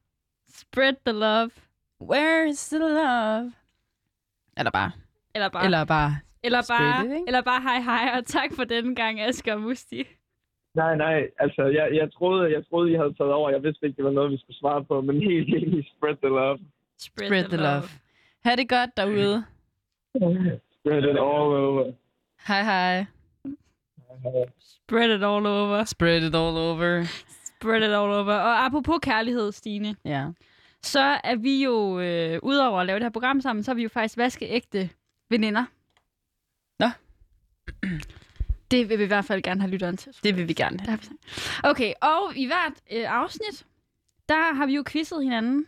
Speaker 2: Spread the love.
Speaker 1: Where is the love? Eller bare.
Speaker 2: Eller bare, eller,
Speaker 1: Eller bare.
Speaker 2: eller bare,
Speaker 1: spread it, ikke?
Speaker 2: eller bare hej hej, og tak for denne gang, Asger og Musti.
Speaker 3: Nej, nej. Altså, jeg, jeg, troede, jeg troede, I havde taget over. Jeg vidste ikke, det var noget, vi skulle svare på. Men helt enig, spread the love.
Speaker 2: Spread,
Speaker 1: Spread the love. Mm. Ha' det godt derude.
Speaker 3: Spread it all over.
Speaker 1: Hej hej.
Speaker 2: Spread it all over.
Speaker 1: Spread it all over.
Speaker 2: Spread it all over. Og apropos kærlighed, Stine,
Speaker 1: Ja.
Speaker 2: så er vi jo, øh, udover at lave det her program sammen, så er vi jo faktisk vaskeægte veninder.
Speaker 1: Nå.
Speaker 2: Det vil vi i hvert fald gerne have lytteren til.
Speaker 1: Det vil vi gerne
Speaker 2: Der
Speaker 1: have.
Speaker 2: har vi sagt. Okay, og i hvert øh, afsnit, der har vi jo quizzet hinanden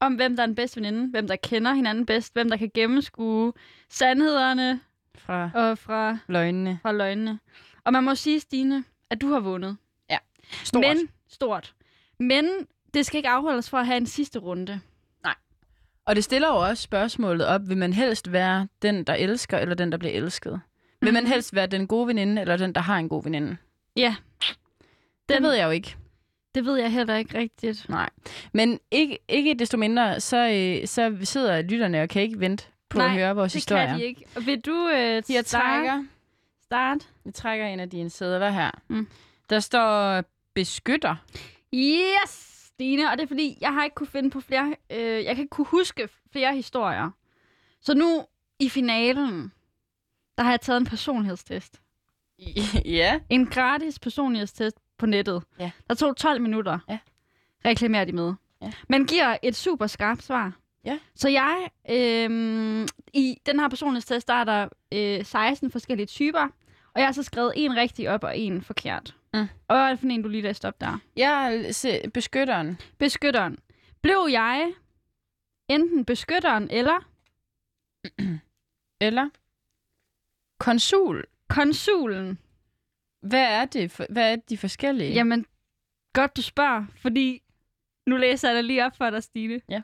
Speaker 2: om, hvem der er den bedste veninde, hvem der kender hinanden bedst, hvem der kan gennemskue sandhederne
Speaker 1: Fra
Speaker 2: og fra,
Speaker 1: løgnene.
Speaker 2: fra løgnene. Og man må sige, Stine, at du har vundet.
Speaker 1: Stort.
Speaker 2: Men, stort. Men det skal ikke afholde os fra at have en sidste runde.
Speaker 1: Og det stiller jo også spørgsmålet op, vil man helst være den, der elsker, eller den, der bliver elsket? Vil
Speaker 2: Mm. Mhm.
Speaker 1: man helst være den gode veninde, eller den, der har en god veninde?
Speaker 2: Ja.
Speaker 1: Det
Speaker 2: Den-
Speaker 1: ved jeg jo ikke.
Speaker 2: Det ved jeg heller ikke rigtigt.
Speaker 1: Nej. Men ikke, ikke desto mindre, så, øh, så sidder lytterne og kan ikke vente på
Speaker 2: Nej,
Speaker 1: at høre vores
Speaker 2: det
Speaker 1: historier.
Speaker 2: kan de ikke. Og Vil du øh,
Speaker 1: Jeg
Speaker 2: starte?
Speaker 1: trækker,
Speaker 2: Start?
Speaker 1: jeg trækker en af dine sædler her.
Speaker 2: Mm.
Speaker 1: Der står beskytter.
Speaker 2: Yes, Stine. Og det er fordi, jeg har ikke kunne finde på flere... Øh, jeg kan ikke kunne huske flere historier. Så nu i finalen, der har jeg taget en personlighedstest.
Speaker 1: ja.
Speaker 2: En gratis personlighedstest på nettet.
Speaker 1: Ja.
Speaker 2: Der tog 12 minutter.
Speaker 1: Ja.
Speaker 2: Reklamerer de med.
Speaker 1: Ja.
Speaker 2: Man giver et super skarpt svar.
Speaker 1: Ja.
Speaker 2: Så jeg, øh, i den her personlighedstest, der er der øh, 16 forskellige typer. Og jeg har så skrevet en rigtig op og en forkert.
Speaker 1: Mm.
Speaker 2: Og hvad er det for en, du lige læste op der?
Speaker 1: Jeg er se- beskytteren.
Speaker 2: Beskytteren. Blev jeg enten beskytteren eller
Speaker 1: Eller konsul.
Speaker 2: konsulen?
Speaker 1: Hvad er det? For, hvad er de forskellige?
Speaker 2: Jamen, godt du spørger, fordi nu læser jeg det lige op for dig, Stine.
Speaker 1: Ja.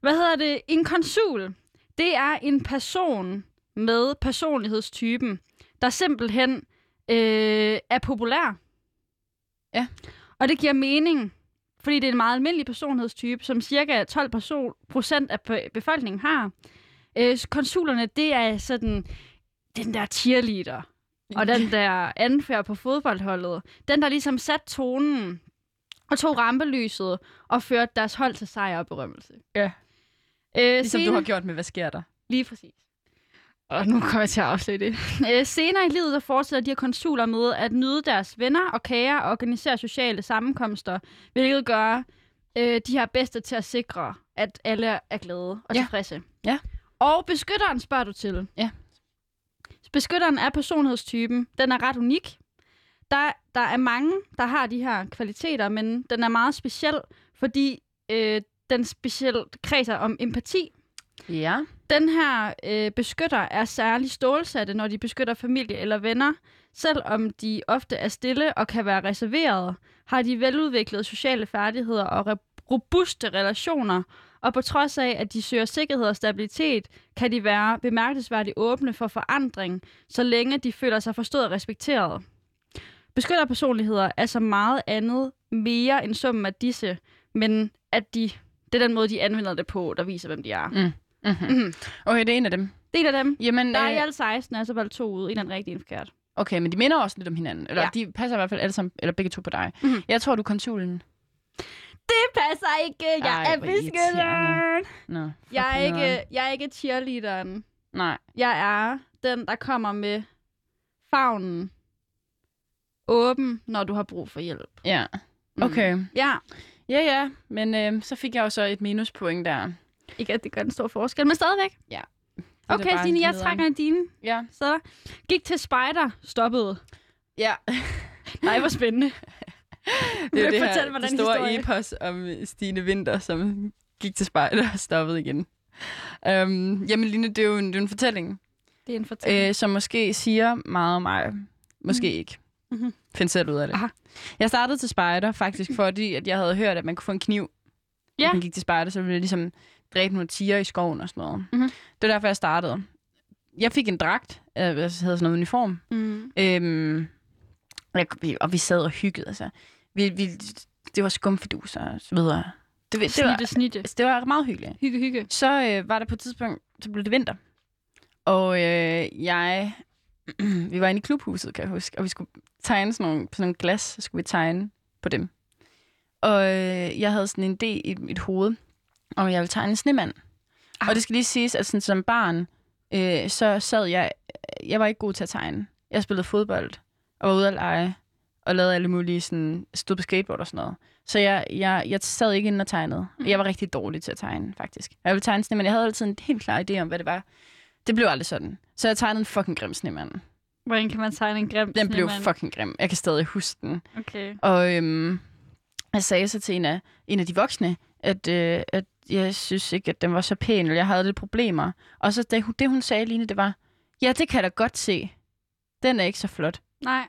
Speaker 2: Hvad hedder det? En konsul, det er en person med personlighedstypen, der simpelthen øh, er populær.
Speaker 1: Ja.
Speaker 2: Og det giver mening, fordi det er en meget almindelig personlighedstype, som cirka 12 procent af be- befolkningen har. Øh, konsulerne, det er sådan den der cheerleader, og den der anfører på fodboldholdet. Den, der ligesom satte tonen og tog rampelyset og førte deres hold til sejr og berømmelse.
Speaker 1: Ja.
Speaker 2: Øh,
Speaker 1: ligesom
Speaker 2: senere-
Speaker 1: du har gjort med, hvad sker der?
Speaker 2: Lige præcis. Og nu kommer jeg til at afsløre det. Øh, senere i livet der fortsætter de her konsuler med at nyde deres venner og kager og organisere sociale sammenkomster, hvilket gør øh, de her bedste til at sikre, at alle er glade og
Speaker 1: Ja.
Speaker 2: tilfredse.
Speaker 1: Ja.
Speaker 2: Og beskytteren spørger du til.
Speaker 1: Ja.
Speaker 2: Beskytteren er personlighedstypen. Den er ret unik. Der, der er mange, der har de her kvaliteter, men den er meget speciel, fordi øh, den specielt kredser om empati,
Speaker 1: Ja.
Speaker 2: Den her øh, beskytter er særligt stålsatte, når de beskytter familie eller venner. Selvom de ofte er stille og kan være reserverede, har de veludviklede sociale færdigheder og re- robuste relationer, og på trods af, at de søger sikkerhed og stabilitet, kan de være bemærkelsesværdigt åbne for forandring, så længe de føler sig forstået og respekteret. Beskytterpersonligheder er så meget andet mere end summen af disse, men at de, det er den måde, de anvender det på, der viser, hvem de er.
Speaker 1: Mm-hmm. Okay, det er en af dem.
Speaker 2: Det er en af dem.
Speaker 1: Jamen,
Speaker 2: Mhm. Der er i
Speaker 1: øh,
Speaker 2: alt 16, altså valgt to ud. En er den rigtige, en forkert.
Speaker 1: okay, men de minder også lidt om hinanden. Eller
Speaker 2: Ja.
Speaker 1: ja. de passer i hvert fald alle sammen, eller begge to på dig.
Speaker 2: Mhm.
Speaker 1: Jeg tror, du er konsulen.
Speaker 2: Det passer ikke. Jeg
Speaker 1: Ej,
Speaker 2: er
Speaker 1: hvor irriterende.
Speaker 2: beskytteren.
Speaker 1: Nå, fuck
Speaker 2: Jeg er,
Speaker 1: nederen.
Speaker 2: ikke, jeg er ikke cheerleaderen.
Speaker 1: Nej.
Speaker 2: Jeg er den, der kommer med favnen åben, når du har brug for hjælp.
Speaker 1: Ja,
Speaker 2: Mm.
Speaker 1: okay. Mm.
Speaker 2: Ja,
Speaker 1: Ja, ja, men øh, så fik jeg jo så et minuspoint der. Det
Speaker 2: ikke at det gør en stor forskel, men stadigvæk.
Speaker 1: er
Speaker 2: Okay,
Speaker 1: bare
Speaker 2: Signe, jeg
Speaker 1: nederen.
Speaker 2: trækker en dine.
Speaker 1: Ja.
Speaker 2: Så gik til spider, stoppede.
Speaker 1: Ja,
Speaker 2: Nej, hvor spændende.
Speaker 1: det er jo det
Speaker 2: Fortæl
Speaker 1: her,
Speaker 2: mig
Speaker 1: det
Speaker 2: den
Speaker 1: store
Speaker 2: historie.
Speaker 1: epos om Stine Winter, som gik til spejlet og stoppede igen. Øhm, jamen, Line, det er jo en, det er jo en fortælling,
Speaker 2: Det er en fortælling. Øh,
Speaker 1: øh, som måske siger meget om mig. Måske mm. ikke.
Speaker 2: Mhm.
Speaker 1: Mm-hmm. Find selv ud af det.
Speaker 2: Aha.
Speaker 1: Jeg startede til spejder faktisk, fordi at jeg havde hørt, at man kunne få en kniv.
Speaker 2: Ja.
Speaker 1: Hvis man gik til spejder, så ville jeg ligesom dræbe nogle tiger i skoven og sådan noget.
Speaker 2: Mhm.
Speaker 1: Det var derfor, jeg startede. Jeg fik en dragt, øh, jeg havde sådan noget uniform,
Speaker 2: mm.
Speaker 1: Øhm, jeg, vi- og vi sad og hyggede, altså. Vi, vi, det var skumfiduser og så videre. Det, det, det, var, altså,
Speaker 2: Snitte, snitte.
Speaker 1: det var meget hyggeligt.
Speaker 2: Hygge, hygge.
Speaker 1: Så øh, var der på et tidspunkt, så blev det vinter. Og øh, jeg... vi var inde i klubhuset, kan jeg huske, og vi skulle tegne sådan nogle, på sådan nogle glas, så skulle vi tegne på dem. Og øh, jeg havde sådan en idé i mit hoved, om jeg ville tegne en snemand.
Speaker 2: Ah.
Speaker 1: Ah. Og det skal lige siges, at sådan, som barn, øh, så sad jeg... Jeg var ikke god til at tegne. Jeg spillede fodbold, og var ude at lege, og lavede alle mulige sådan... Stod på skateboard og sådan noget. Så jeg, jeg, jeg sad ikke inde og tegnede.
Speaker 2: Mm.
Speaker 1: Jeg var rigtig dårlig til at tegne, faktisk. Og Jeg ville tegne snemand. Jeg havde altid en helt klar idé om, hvad det var. Det blev aldrig sådan. Så jeg tegnede en fucking grim snemand.
Speaker 2: Hvordan kan man tegne en grim
Speaker 1: Den blev
Speaker 2: snemand?
Speaker 1: fucking grim. Jeg kan stadig huske den.
Speaker 2: Okay.
Speaker 1: Og øhm, jeg sagde så til en af, en af de voksne, at, øh, at jeg synes ikke, at den var så pæn, eller jeg havde lidt problemer. Og så det, hun- det hun sagde, Line, det var, ja, det kan jeg da godt se. Den er ikke så flot.
Speaker 2: Nej.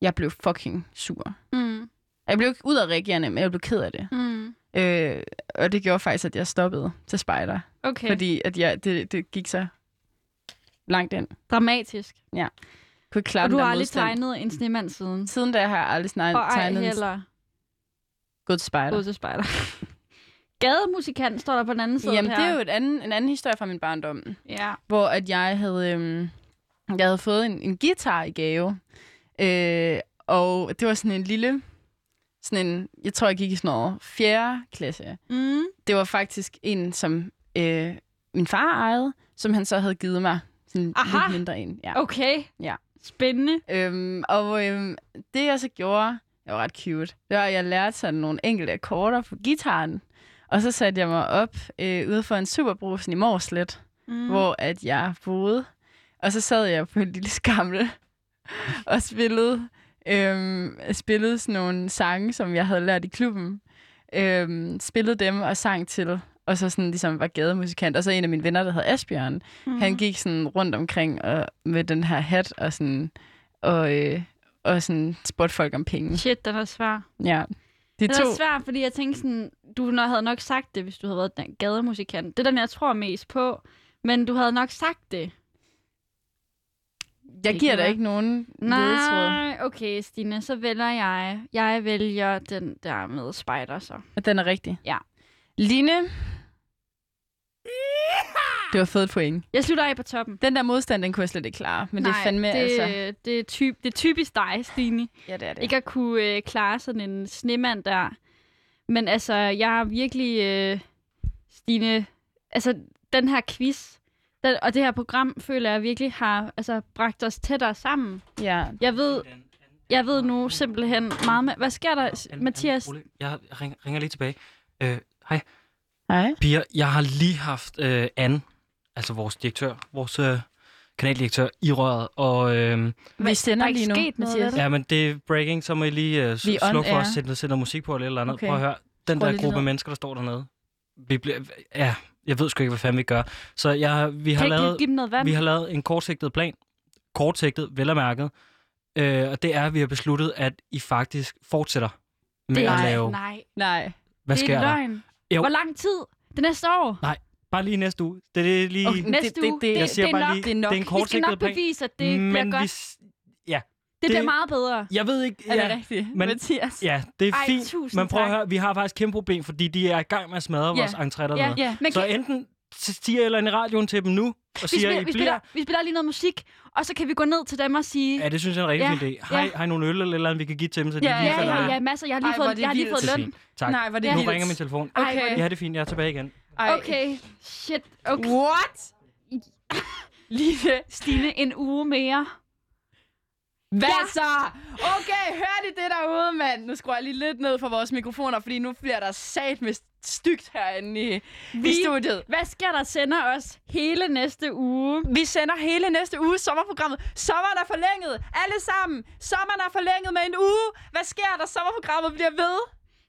Speaker 1: Jeg blev fucking sur.
Speaker 2: Mm.
Speaker 1: Jeg blev ikke ud af reagerende, men jeg blev ked af det.
Speaker 2: Mm.
Speaker 1: Øh, og det gjorde faktisk, at jeg stoppede til spejder.
Speaker 2: Okay.
Speaker 1: Okay. Fordi at jeg, det, det gik så langt ind. Jeg
Speaker 2: Dramatisk.
Speaker 1: kunne ikke klare
Speaker 2: og
Speaker 1: den
Speaker 2: du
Speaker 1: der
Speaker 2: har aldrig
Speaker 1: modstand.
Speaker 2: tegnet en snemand siden.
Speaker 1: Siden da har jeg aldrig
Speaker 2: og
Speaker 1: snart
Speaker 2: ej
Speaker 1: tegnet en
Speaker 2: heller
Speaker 1: god spejder.
Speaker 2: gået til spejder. Gademusikant står der på den anden side
Speaker 1: Jamen,
Speaker 2: her.
Speaker 1: det er jo et anden, en anden historie fra min barndom.
Speaker 2: Ja.
Speaker 1: hvor at jeg havde, øhm, jeg havde fået en, en guitar i gave. Øh, og det var sådan en lille, sådan en, jeg tror, jeg gik i sådan noget 4. klasse.
Speaker 2: Mm.
Speaker 1: Det var faktisk en, som øh, min far ejede, som han så havde givet mig. Sådan
Speaker 2: Aha!
Speaker 1: lidt mindre en. Ja.
Speaker 2: Okay.
Speaker 1: Ja.
Speaker 2: Spændende.
Speaker 1: Øhm, og øhm, det, jeg så gjorde, det var ret cute. Det var, at jeg lærte sådan nogle enkelte akkorder på gitaren. Og så satte jeg mig op øh, ude for en superbrusen i Morslet
Speaker 2: Mm.
Speaker 1: mm. hvor at jeg boede. Og så sad jeg på en lille skamle og spillede, øhm, spillede sådan nogle sange, som jeg havde lært i klubben. Øhm, spillede dem og sang til, og så sådan ligesom var gademusikant. Og så en af mine venner, der hed Asbjørn, mm.
Speaker 2: mm.
Speaker 1: han gik sådan rundt omkring og, med den her hat og sådan, og, øh, og sådan spurgte folk om penge.
Speaker 2: Shit, den er svær.
Speaker 1: Ja. De
Speaker 2: Den
Speaker 1: to,
Speaker 2: er svær, fordi jeg tænkte sådan, du nok- havde nok sagt det, hvis du havde været den gademusikant. Det er den, jeg tror mest på. Men du havde nok sagt det.
Speaker 1: jeg
Speaker 2: Det
Speaker 1: giver dig
Speaker 2: kan være.
Speaker 1: ikke nogen ledetråd.
Speaker 2: Nej, okay, Stine, så vælger jeg. Jeg vælger den der med spider, så.
Speaker 1: at Den er rigtig.
Speaker 2: Ja.
Speaker 1: Line. Det var fedt point.
Speaker 2: Jeg slutter af på toppen.
Speaker 1: Den der modstand, den kunne jeg slet ikke klare. Men Nej, det er fandme,
Speaker 2: det,
Speaker 1: det... altså...
Speaker 2: Det er, typ, det er typisk dig, Stine.
Speaker 1: Ja, det er det.
Speaker 2: Ikke at kunne øh, klare sådan en snemand der. Men altså, jeg er virkelig, øh, Stine... Altså, den her quiz den, og det her program, føler jeg virkelig har altså, bragt os tættere sammen.
Speaker 1: Ja.
Speaker 2: Jeg ved, jeg ved nu simpelthen meget med... Hvad sker der, s-
Speaker 4: An- an-
Speaker 2: Mathias?
Speaker 4: rolig. Jeg ringer, ringer lige tilbage. Øh, hej,
Speaker 1: Hej.
Speaker 4: piger. Jeg har lige haft øh, Anne, altså vores direktør, vores øh, kanaldirektør, i røret. Og øh,
Speaker 1: Vi sender
Speaker 2: der er ikke
Speaker 1: lige nu,
Speaker 2: sket noget
Speaker 1: Mathias.
Speaker 2: ved det.
Speaker 4: ja, men det er breaking, så må I lige øh, s-
Speaker 1: Vi er on
Speaker 4: slukke for
Speaker 1: air.
Speaker 4: os, sætte noget, sætte noget musik på eller et eller andet.
Speaker 1: Okay.
Speaker 4: Prøv at høre, den
Speaker 1: Skru
Speaker 4: der
Speaker 1: lidt
Speaker 4: gruppe
Speaker 1: ned.
Speaker 4: mennesker, der står dernede. Vi bliver, ja, jeg ved sgu ikke, hvad fanden vi gør. Så jeg, vi, har
Speaker 2: Kan ikke
Speaker 4: lavet,
Speaker 2: give dem noget vand?
Speaker 4: vi har lavet en kortsigtet plan. Kortsigtet, vel og mærket. Øh, og det er, at vi har besluttet, at I faktisk fortsætter
Speaker 2: det
Speaker 4: med at
Speaker 2: er,
Speaker 4: lave...
Speaker 2: Nej,
Speaker 1: Nej.
Speaker 4: Hvad
Speaker 2: det er
Speaker 4: sker der?
Speaker 2: løgn.
Speaker 4: Jo.
Speaker 2: Hvor lang tid? Det næste år?
Speaker 4: Bare lige næste uge. Det er det lige...
Speaker 1: Okay,
Speaker 2: Næste
Speaker 1: det- det-
Speaker 2: uge?
Speaker 1: det-
Speaker 2: Det,
Speaker 4: jeg siger
Speaker 2: det, er
Speaker 4: bare
Speaker 2: nok.
Speaker 4: lige,
Speaker 1: det er nok.
Speaker 4: det er en
Speaker 2: Vi skal nok
Speaker 4: kortsigtet plan.
Speaker 2: bevise, at det
Speaker 4: men
Speaker 2: bliver
Speaker 4: vi,
Speaker 2: godt.
Speaker 4: s- ja,
Speaker 2: Det bliver
Speaker 4: det-
Speaker 2: meget bedre.
Speaker 4: jeg ved ikke...
Speaker 1: Er
Speaker 4: ja.
Speaker 1: det rigtigt,
Speaker 4: men-
Speaker 1: Mathias?
Speaker 4: Ja, det er
Speaker 2: Ej,
Speaker 4: fint.
Speaker 2: tusind
Speaker 4: Men prøv at
Speaker 2: tak.
Speaker 4: høre, vi har faktisk kæmpe problem, fordi de er i gang med at smadre
Speaker 2: Ja.
Speaker 4: vores entré dernede.
Speaker 2: Ja, ja. Men
Speaker 4: Så
Speaker 2: kan,
Speaker 4: enten siger jeg eller en i radioen til dem nu, og
Speaker 2: vi,
Speaker 4: siger,
Speaker 2: spiller,
Speaker 4: I
Speaker 2: vi,
Speaker 4: bliver...
Speaker 2: spiller, vi spiller lige noget musik, og så kan vi gå ned til dem og sige...
Speaker 4: Ja, det synes jeg er en rigtig
Speaker 2: Ja,
Speaker 4: ja. fin idé. Har, I-
Speaker 2: ja.
Speaker 4: har I nogle øl eller et eller andet, vi kan give til dem, så de
Speaker 1: Ja,
Speaker 4: lige
Speaker 2: Ja,
Speaker 4: falder
Speaker 2: ja,
Speaker 4: ned?
Speaker 2: ja, masser. Jeg har lige
Speaker 1: Ej, hvor er
Speaker 2: fået,
Speaker 1: det
Speaker 2: jeg har lige
Speaker 1: vildt.
Speaker 2: fået
Speaker 4: Det er
Speaker 2: løn.
Speaker 4: fint. Tak.
Speaker 1: Nej, hvor er det
Speaker 4: Nu
Speaker 1: vildt.
Speaker 4: ringer min telefon.
Speaker 2: Ej,
Speaker 1: Okay.
Speaker 4: Ja, det er fint. Jeg er tilbage igen.
Speaker 1: Ej.
Speaker 2: Okay, shit. Okay.
Speaker 1: What? Line,
Speaker 2: Stine, en uge mere.
Speaker 1: Hvad
Speaker 2: Ja.
Speaker 1: ja. så? Okay, hør de det derude, mand? Nu skruer jeg lige lidt ned for vores mikrofoner, fordi nu bliver der sat med stygt herinde i, i
Speaker 2: Vi-
Speaker 1: studiet.
Speaker 2: Hvad sker der sender os hele næste uge?
Speaker 1: Vi sender hele næste uge sommerprogrammet. Sommeren er forlænget. Alle sammen. Sommeren er forlænget med en uge. Hvad sker der? Sommerprogrammet bliver ved.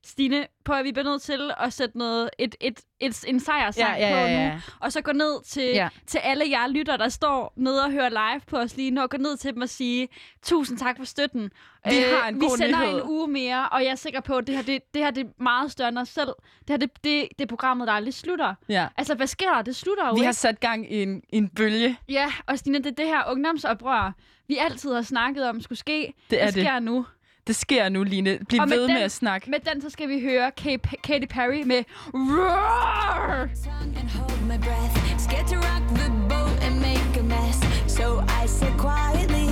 Speaker 2: Stine, på at vi bliver nødt til at sætte noget, et, et, et, en sejrsang
Speaker 1: Ja, ja, ja,
Speaker 2: på
Speaker 1: ja.
Speaker 2: nu. Og så gå ned til, ja.
Speaker 1: Ja.
Speaker 2: til alle jer lytter, der står nede og hører live på os lige nu. Og gå ned til dem og sige, tusind tak for støtten. Øh,
Speaker 1: Vi har en
Speaker 2: vi
Speaker 1: god
Speaker 2: sender
Speaker 1: nyhed."
Speaker 2: en uge mere, og jeg er sikker på, at det her, det, det her det er meget større end os selv. Det her det, det, det er programmet, der aldrig slutter.
Speaker 1: Ja.
Speaker 2: Altså, hvad sker der? Det slutter jo
Speaker 1: Vi
Speaker 2: ikke.
Speaker 1: har sat gang i en, i en bølge.
Speaker 2: Ja, og Stine, det er det her ungdomsoprør, vi altid har snakket om skulle ske.
Speaker 1: Det er
Speaker 2: det
Speaker 1: det.
Speaker 2: sker nu.
Speaker 1: Det sker nu, Line. Bliv
Speaker 2: Og med
Speaker 1: ved med
Speaker 2: den-
Speaker 1: at snakke.
Speaker 2: Med den, så skal vi høre Kay- Katy Perry med Roar!
Speaker 5: tongue and hold my breath. Scared to rock the boat and make a mess. So I said quietly,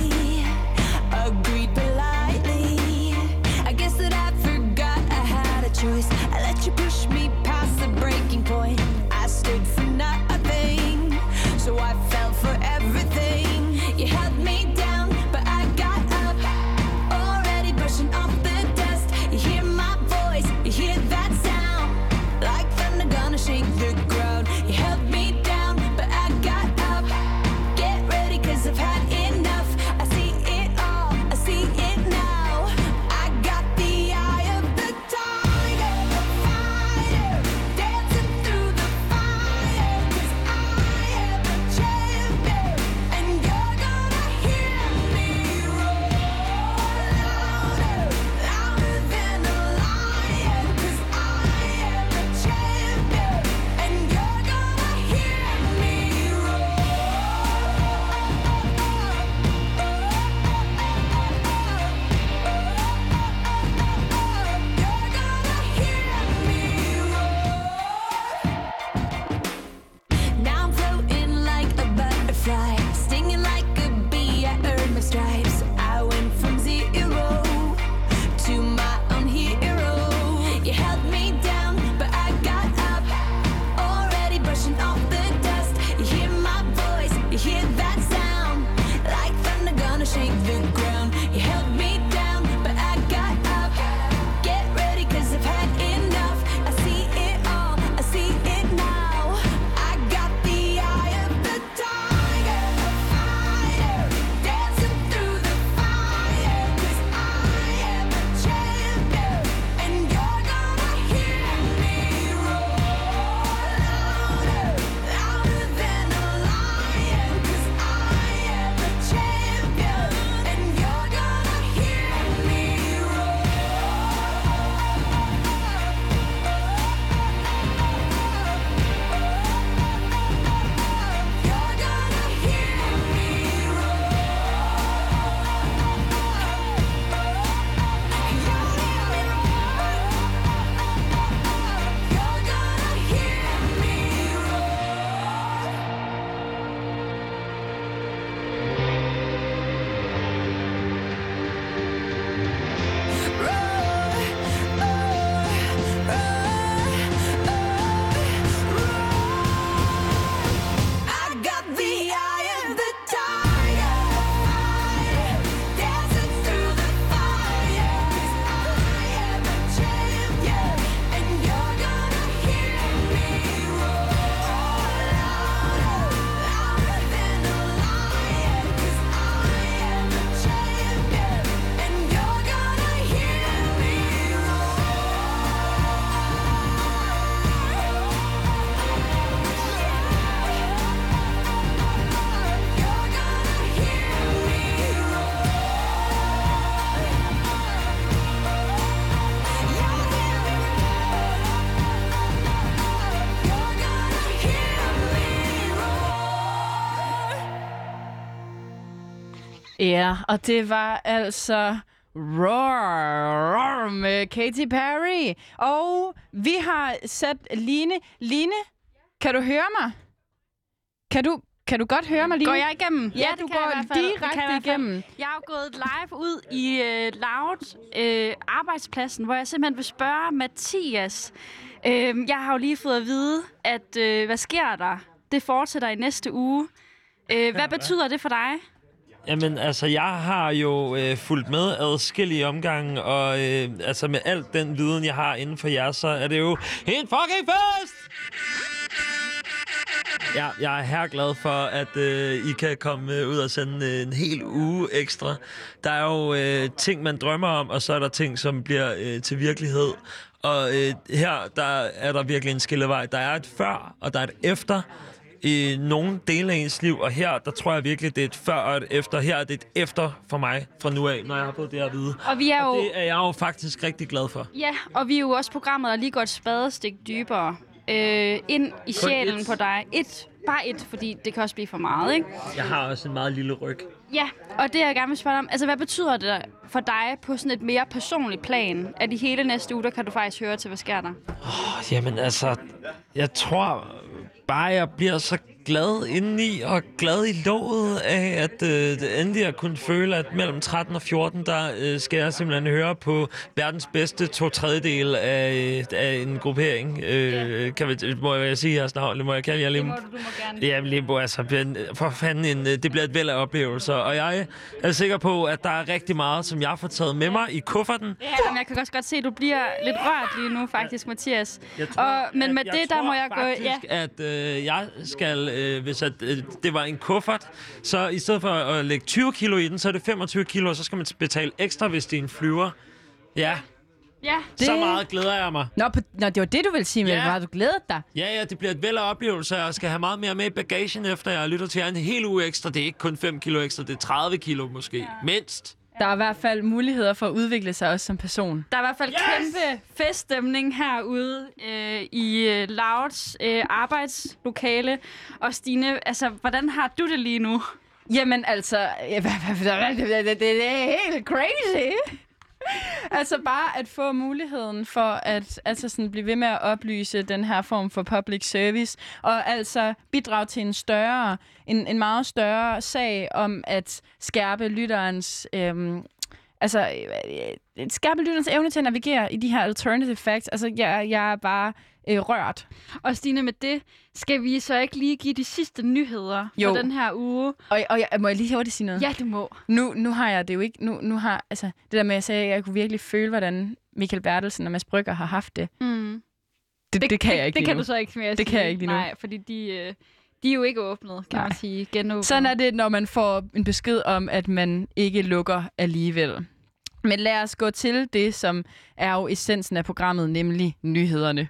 Speaker 5: agreed politely. I guess that I forgot I had a choice. I let you push me past the breaking point. I stood for nothing, so I fell for everything. You held me down, but I got up. Already brushing off the dust. You hear my voice, you hear that sound. Like thunder gonna shake the ground. You held me down, but I got up. Get ready, cause I've had enough. I see it all, I see it now. I got the eye of the tiger, the fighter, dancing through the fire. 'Cause I am a champion, and you're gonna
Speaker 1: Ja, og det var altså Roar, Roar med Katy Perry. Og vi har sat Line. Line, kan du høre mig? Kan du, kan du godt høre mig, Line?
Speaker 2: Går jeg igennem?
Speaker 1: Ja, du går direkte igennem.
Speaker 2: Jeg er jo gået live ud i øh, Loud øh, arbejdspladsen, hvor jeg simpelthen vil spørge Mathias. Øh, jeg har jo lige fået at vide, at øh, hvad sker der? Det fortsætter i næste uge. Øh, hvad betyder det for dig?
Speaker 6: Jamen, altså, jeg har jo øh, fulgt med adskillige omgange, og øh, altså med alt den viden, jeg har inden for jer, så er det jo helt fucking fest! Ja, jeg er her glad for, at øh, I kan komme øh, ud og sende øh, en hel uge ekstra. Der er jo øh, ting, man drømmer om, og så er der ting, som bliver øh, til virkelighed. Og øh, her der er der virkelig en skillevej. Der er et før, og der er et efter i nogle dele af ens liv, og her, der tror jeg virkelig, det er et før og et efter. Her er det et efter for mig fra nu af, når jeg har fået det at vide.
Speaker 2: Og vi er jo...
Speaker 6: Og det er jeg jo faktisk rigtig glad for.
Speaker 2: Ja, og vi er jo også programmet, der lige går et spadestik dybere øh, ind i sjælen
Speaker 6: ét.
Speaker 2: på dig. Et, bare et, fordi det kan også blive for meget, ikke?
Speaker 6: Jeg har også en meget lille ryg.
Speaker 2: Ja, og det jeg gerne vil spørge dig om, altså hvad betyder det for dig på sådan et mere personligt plan, at i hele næste uge, der kan du faktisk høre til, hvad sker der?
Speaker 6: Jamen altså, jeg tror bare, jeg bliver så glad indeni og glad i låget af, at øh, det endelig jeg kunne føle, at mellem 13 og 14, der øh, skal jeg simpelthen høre på verdens bedste to tredjedel af, øh, af en gruppering. Øh, kan vi, må jeg sige jeres navn, eller må jeg kalde jer Limbo?
Speaker 2: du må gerne.
Speaker 6: Jamen Limbo, altså, ben- for fanden, en, øh, det bliver et væld af oplevelser. Og jeg er sikker på, at der er rigtig meget, som jeg får taget med mig i kufferten.
Speaker 2: Ja, men jeg kan også godt se, at du bliver lidt rørt lige nu faktisk, Mathias.
Speaker 6: Jeg
Speaker 2: Og- men
Speaker 6: at
Speaker 2: med
Speaker 6: jeg
Speaker 2: det, der
Speaker 6: tror
Speaker 2: må jeg gå-
Speaker 6: faktisk,
Speaker 2: ja.
Speaker 6: at øh, jeg skal, øh, hvis at, øh, det var en kuffert, så i stedet for at lægge 20 kilo i den, så er det 25 kilo, og så skal man betale ekstra, hvis det er en flyver. Ja,
Speaker 2: Ja,
Speaker 6: det... så
Speaker 1: Det-
Speaker 6: meget glæder jeg mig.
Speaker 1: Nå, på, nå, det var det, du ville sige, men
Speaker 6: Ja.
Speaker 1: yeah. var du glædet dig?
Speaker 6: Ja, ja, det bliver et væld af oplevelser, og jeg skal have meget mere med i bagagen, efter jeg lytter til jer en hel uge ekstra. Det er ikke kun 5 kilo ekstra, det er 30 kilo måske. Ja. Mindst.
Speaker 1: Der er i hvert fald muligheder for at udvikle sig også som person.
Speaker 2: Der er i hvert fald yes! kæmpe feststemning herude øh, i øh, Louds øh, arbejdslokale. Og Stine, altså, hvordan har du det lige nu?
Speaker 1: Jamen altså, ja, hvad- hvad- hvad- det det- det er helt crazy. altså bare at få muligheden for at altså sådan, blive ved med at oplyse den her form for public service, og altså bidrage til en større, en, en meget større sag om at skærpe lytterens... Øhm, altså, øh, øh, skærpe lytterens evne til at navigere i de her alternative facts. Altså, jeg, jeg er bare øh, rørt.
Speaker 2: Og Stine, med det skal vi så ikke lige give de sidste nyheder
Speaker 1: Jo.
Speaker 2: for den her uge?
Speaker 1: Og, og jeg, må jeg lige hurtigt sige noget?
Speaker 2: Ja, du må.
Speaker 1: Nu, nu har jeg det jo ikke. Nu, nu har, altså, det der med, at jeg sagde, at jeg kunne virkelig føle, hvordan Michael Bertelsen og Mads Brygger har haft det.
Speaker 2: Mm.
Speaker 1: Det, det, det kan jeg ikke
Speaker 2: Det
Speaker 1: lige
Speaker 2: kan
Speaker 1: nu.
Speaker 2: du så ikke mere
Speaker 1: Det
Speaker 2: sige.
Speaker 1: kan jeg ikke lige nu.
Speaker 2: Nej, fordi de, øh, de er jo ikke åbnet, kan
Speaker 1: Nej.
Speaker 2: man sige. Genåbnet.
Speaker 1: Sådan er det, når man får en besked om, at man ikke lukker alligevel. Men lad os gå til det, som er jo essensen af programmet, nemlig nyhederne.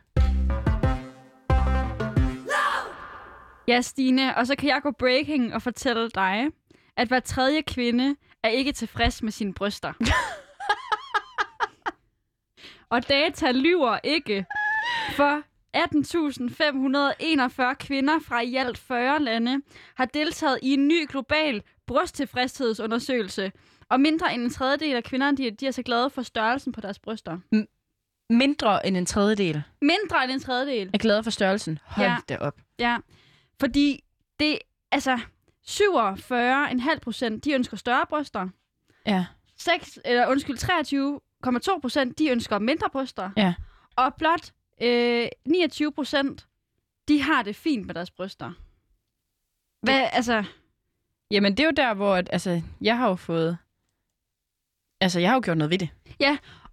Speaker 2: Ja, Stine, og så kan jeg gå breaking og fortælle dig, at hver tredje kvinde er ikke tilfreds med sine bryster. og data lyver ikke, for 18.541 kvinder fra i alt 40 lande har deltaget i en ny global brysttilfredshedsundersøgelse. Og mindre end en tredjedel af kvinderne, de, de er så glade for størrelsen på deres bryster.
Speaker 1: Mindre end en tredjedel
Speaker 2: Mindre end en tredjedel.
Speaker 1: er glade for størrelsen. Hold
Speaker 2: Ja.
Speaker 1: ja. det op.
Speaker 2: Ja, fordi det, altså, 47,5 procent, de ønsker større bryster.
Speaker 1: Ja.
Speaker 2: 6, eller undskyld, 23,2 procent, de ønsker mindre bryster.
Speaker 1: Ja.
Speaker 2: Og blot øh, 29 procent, de har det fint med deres bryster. Hvad, altså,
Speaker 1: Jamen, det er jo der, hvor at, altså, jeg har jo fået... Altså, jeg har jo gjort noget ved det.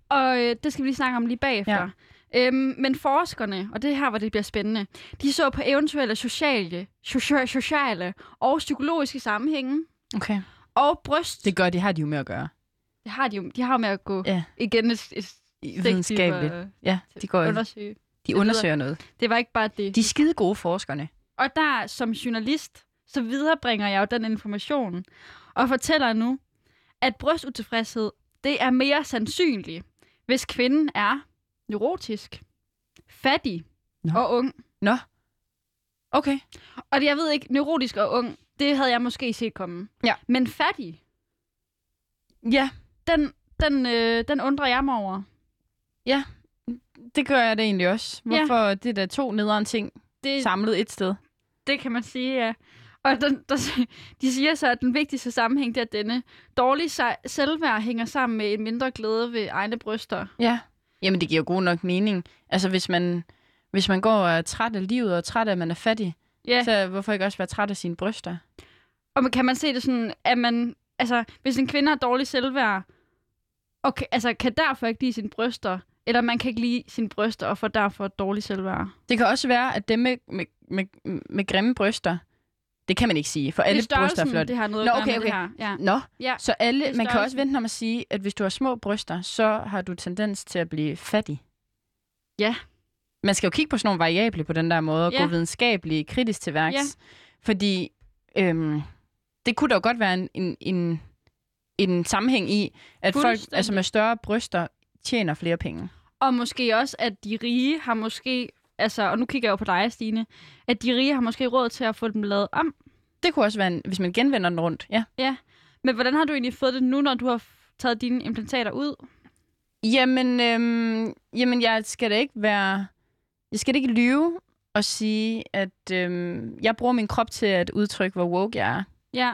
Speaker 2: og øh, det skal vi lige snakke om lige bagefter. Ja. Øhm, men forskerne, og det er her, hvor det bliver spændende, de så på eventuelle sociale, socia- sociale og psykologiske sammenhænge,
Speaker 1: Okay.
Speaker 2: og bryst...
Speaker 1: Det gør de, har de jo med at gøre.
Speaker 2: Det har de jo. De har jo med at gå
Speaker 1: Ja.
Speaker 2: igen et, et
Speaker 1: I-
Speaker 2: stik
Speaker 1: Videnskabeligt.
Speaker 2: dybere
Speaker 1: Ja, de, går,
Speaker 2: undersøge.
Speaker 1: de undersøger noget.
Speaker 2: Det var ikke bare det.
Speaker 1: De er skide gode forskerne.
Speaker 2: Og der som journalist, så viderebringer jeg jo den information og fortæller nu, at brystutilfredshed, det er mere sandsynligt, hvis kvinden er neurotisk, fattig
Speaker 1: Nå.
Speaker 2: og ung.
Speaker 1: Okay.
Speaker 2: Og det- jeg ved ikke, neurotisk og ung, det havde jeg måske set komme.
Speaker 1: Ja.
Speaker 2: Men fattig,
Speaker 1: Ja,
Speaker 2: Den, den, øh, den undrer jeg mig over.
Speaker 1: det gør jeg det egentlig også.
Speaker 2: Ja.
Speaker 1: Hvorfor ja. det der to nederen ting
Speaker 2: Det,
Speaker 1: samlet et sted?
Speaker 2: det kan man sige, ja. Og den, der, de siger så, at den vigtigste sammenhæng det er denne. Dårlig se- selvværd hænger sammen med en mindre glæde ved egne bryster.
Speaker 1: Ja. Jamen, det giver jo god nok mening. Altså, hvis man, hvis man går og er træt af livet, og er træt af, at man er fattig,
Speaker 2: Ja.
Speaker 1: ja. så hvorfor ikke også være træt af sine bryster?
Speaker 2: Og man- kan man se det sådan, at man, altså, hvis en kvinde har dårlig selvværd, og kan, altså, kan derfor ikke lide sine bryster, eller man kan ikke lide sine bryster og får derfor dårlig selvværd.
Speaker 1: Det kan også være, at dem med, med, med, med grimme bryster, det kan man ikke sige, for alle
Speaker 2: det er
Speaker 1: bryster er
Speaker 2: størrelsen,
Speaker 1: flotte.
Speaker 2: det har noget
Speaker 1: Nå,
Speaker 2: at gøre
Speaker 1: okay,
Speaker 2: med det
Speaker 1: okay.
Speaker 2: her. Ja.
Speaker 1: Nå,
Speaker 2: Ja,
Speaker 1: så alle,
Speaker 2: det er
Speaker 1: man kan også
Speaker 2: størrelsen.
Speaker 1: vente om at sige, at hvis du har små bryster, så har du tendens til at blive fattig.
Speaker 2: Ja.
Speaker 1: Man skal jo kigge på sådan nogle variable på den der måde, og
Speaker 2: Ja.
Speaker 1: gå videnskabeligt kritisk til værks.
Speaker 2: Ja.
Speaker 1: Fordi øhm, det kunne da jo godt være en, en, en, en sammenhæng i, at folk
Speaker 2: Fuldstændig.
Speaker 1: altså med større bryster tjener flere penge.
Speaker 2: Og måske også, at de rige har måske, altså, og nu kigger jeg jo på dig, Stine, at de rige har måske råd til at få dem lavet om.
Speaker 1: Det kunne også være, en, hvis man genvender den rundt. Ja.
Speaker 2: Men hvordan har du egentlig fået det nu, når du har f- taget dine implantater ud?
Speaker 1: Jamen, øhm, jamen, jeg skal da ikke være... Jeg skal da ikke lyve og sige, at øhm, jeg bruger min krop til at udtrykke, hvor woke jeg er.
Speaker 2: Ja,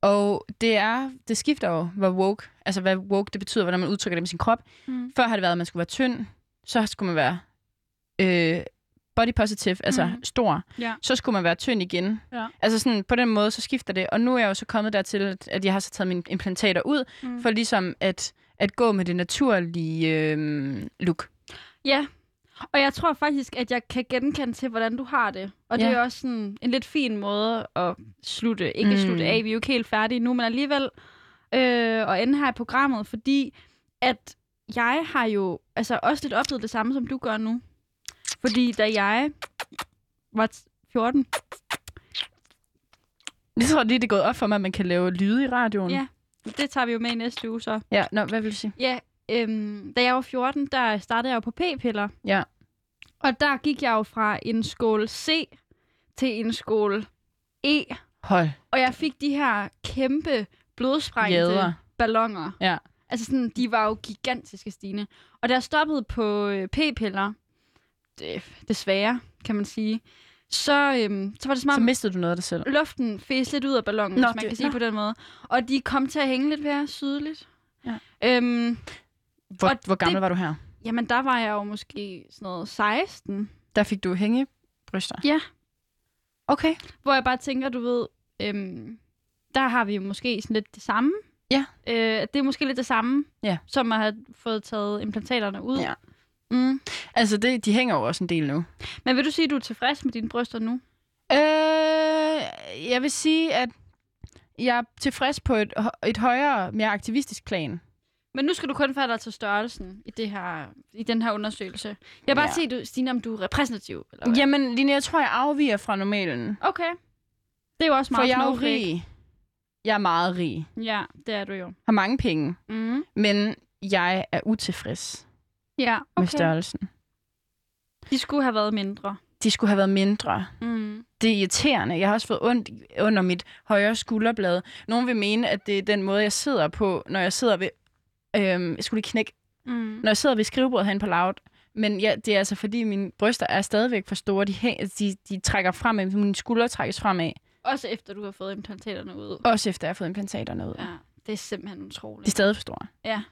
Speaker 1: Og det er, det skifter jo, hvor woke, altså hvad woke det betyder, hvordan man udtrykker det med sin krop.
Speaker 2: Mm.
Speaker 1: Mm. Før har det været, at man skulle være tynd, så skulle man være øh, body positive, altså
Speaker 2: Mm.
Speaker 1: mm. stor.
Speaker 2: Ja.
Speaker 1: Så skulle man være tynd igen.
Speaker 2: Ja.
Speaker 1: Altså sådan, på den måde, så skifter det. Og nu er jeg jo så kommet dertil, at, at jeg har så taget mine implantater ud,
Speaker 2: Mm.
Speaker 1: mm. for ligesom at, at gå med det naturlige øh, look.
Speaker 2: ja. Og jeg tror faktisk, at jeg kan genkende til, hvordan du har det. Og det
Speaker 1: Ja.
Speaker 2: er også sådan en lidt fin måde at slutte, ikke mm.
Speaker 1: Mm.
Speaker 2: slutte af, vi er jo ikke helt færdige nu, men alligevel øh, at ende her i programmet, fordi at jeg har jo altså også lidt oplevet det samme, som du gør nu. Fordi da jeg var t- 14,
Speaker 1: Jeg tror lige, det er gået op for mig, at man kan lave lyde i radioen.
Speaker 2: Ja. det tager vi jo med i næste uge så.
Speaker 1: ja nå, hvad vil du sige?
Speaker 2: Ja, øhm, da jeg var 14, der startede jeg jo på p-piller.
Speaker 1: Ja.
Speaker 2: Og der gik jeg jo fra en skål C til en skål E.
Speaker 1: Hold
Speaker 2: Og jeg fik de her kæmpe blodsprængte
Speaker 1: jæder.
Speaker 2: ballonger.
Speaker 1: Ja.
Speaker 2: Altså sådan, de var jo gigantiske, Stine. Og da jeg stoppede på øh, p-piller, det, desværre, kan man sige, så, øhm, så var det som
Speaker 1: Så
Speaker 2: om,
Speaker 1: mistede du noget af dig selv.
Speaker 2: luften fæs lidt ud af ballonen,
Speaker 1: Nå,
Speaker 2: hvis man
Speaker 1: det-
Speaker 2: kan sige
Speaker 1: nå.
Speaker 2: på den måde. Og de kom til at hænge lidt mere sydligt.
Speaker 1: Ja.
Speaker 2: Øhm,
Speaker 1: Hvor,
Speaker 2: Og
Speaker 1: hvor gammel
Speaker 2: det-
Speaker 1: var du her?
Speaker 2: jamen, der var jeg jo måske sådan noget 16,
Speaker 1: Der fik du hængebryster?
Speaker 2: Ja.
Speaker 1: Okay.
Speaker 2: hvor jeg bare tænker, du ved, øhm, der har vi jo måske sådan lidt det samme.
Speaker 1: Ja.
Speaker 2: Øh, det er måske lidt det samme,
Speaker 1: Ja.
Speaker 2: som at have fået taget implantaterne ud.
Speaker 1: Ja.
Speaker 2: Mm.
Speaker 1: Altså, det, de hænger jo også en del nu.
Speaker 2: Men vil du sige, at du er tilfreds med dine bryster nu?
Speaker 1: Øh, jeg vil sige, at jeg er tilfreds på et, et højere, mere aktivistisk plan.
Speaker 2: Men nu skal du kun falde dig til størrelsen i, det her, i den her undersøgelse. Jeg vil bare
Speaker 1: Ja.
Speaker 2: se, du, Stine, om du er repræsentativ. Eller hvad?
Speaker 1: Okay. Jamen, Line, jeg tror, jeg afviger fra normalen.
Speaker 2: Okay. Det er jo også
Speaker 1: For
Speaker 2: meget
Speaker 1: jeg er jo
Speaker 2: knofrik.
Speaker 1: rig. Jeg er meget rig.
Speaker 2: Ja, det er du jo.
Speaker 1: Har mange penge.
Speaker 2: Mm.
Speaker 1: Men jeg er utilfreds
Speaker 2: Ja,
Speaker 1: okay. med
Speaker 2: okay.
Speaker 1: størrelsen.
Speaker 2: De skulle have været mindre.
Speaker 1: De skulle have været mindre.
Speaker 2: Mm.
Speaker 1: det er irriterende. Jeg har også fået ondt under mit højre skulderblad. Nogen vil mene, at det er den måde, jeg sidder på, når jeg sidder ved... Øhm, jeg skulle lige knække.
Speaker 2: Mm.
Speaker 1: Når jeg sidder ved skrivebordet herinde på Loud. Men ja, det er altså, fordi mine bryster er stadigvæk for store. De, hæ- de, de trækker fremad. Mine skuldre trækkes fremad.
Speaker 2: Også efter du har fået implantaterne ud.
Speaker 1: Også efter jeg har fået implantaterne ud. Ja.
Speaker 2: Ja, det er simpelthen
Speaker 1: De
Speaker 2: utroligt.
Speaker 1: er stadig for store.
Speaker 2: Ja.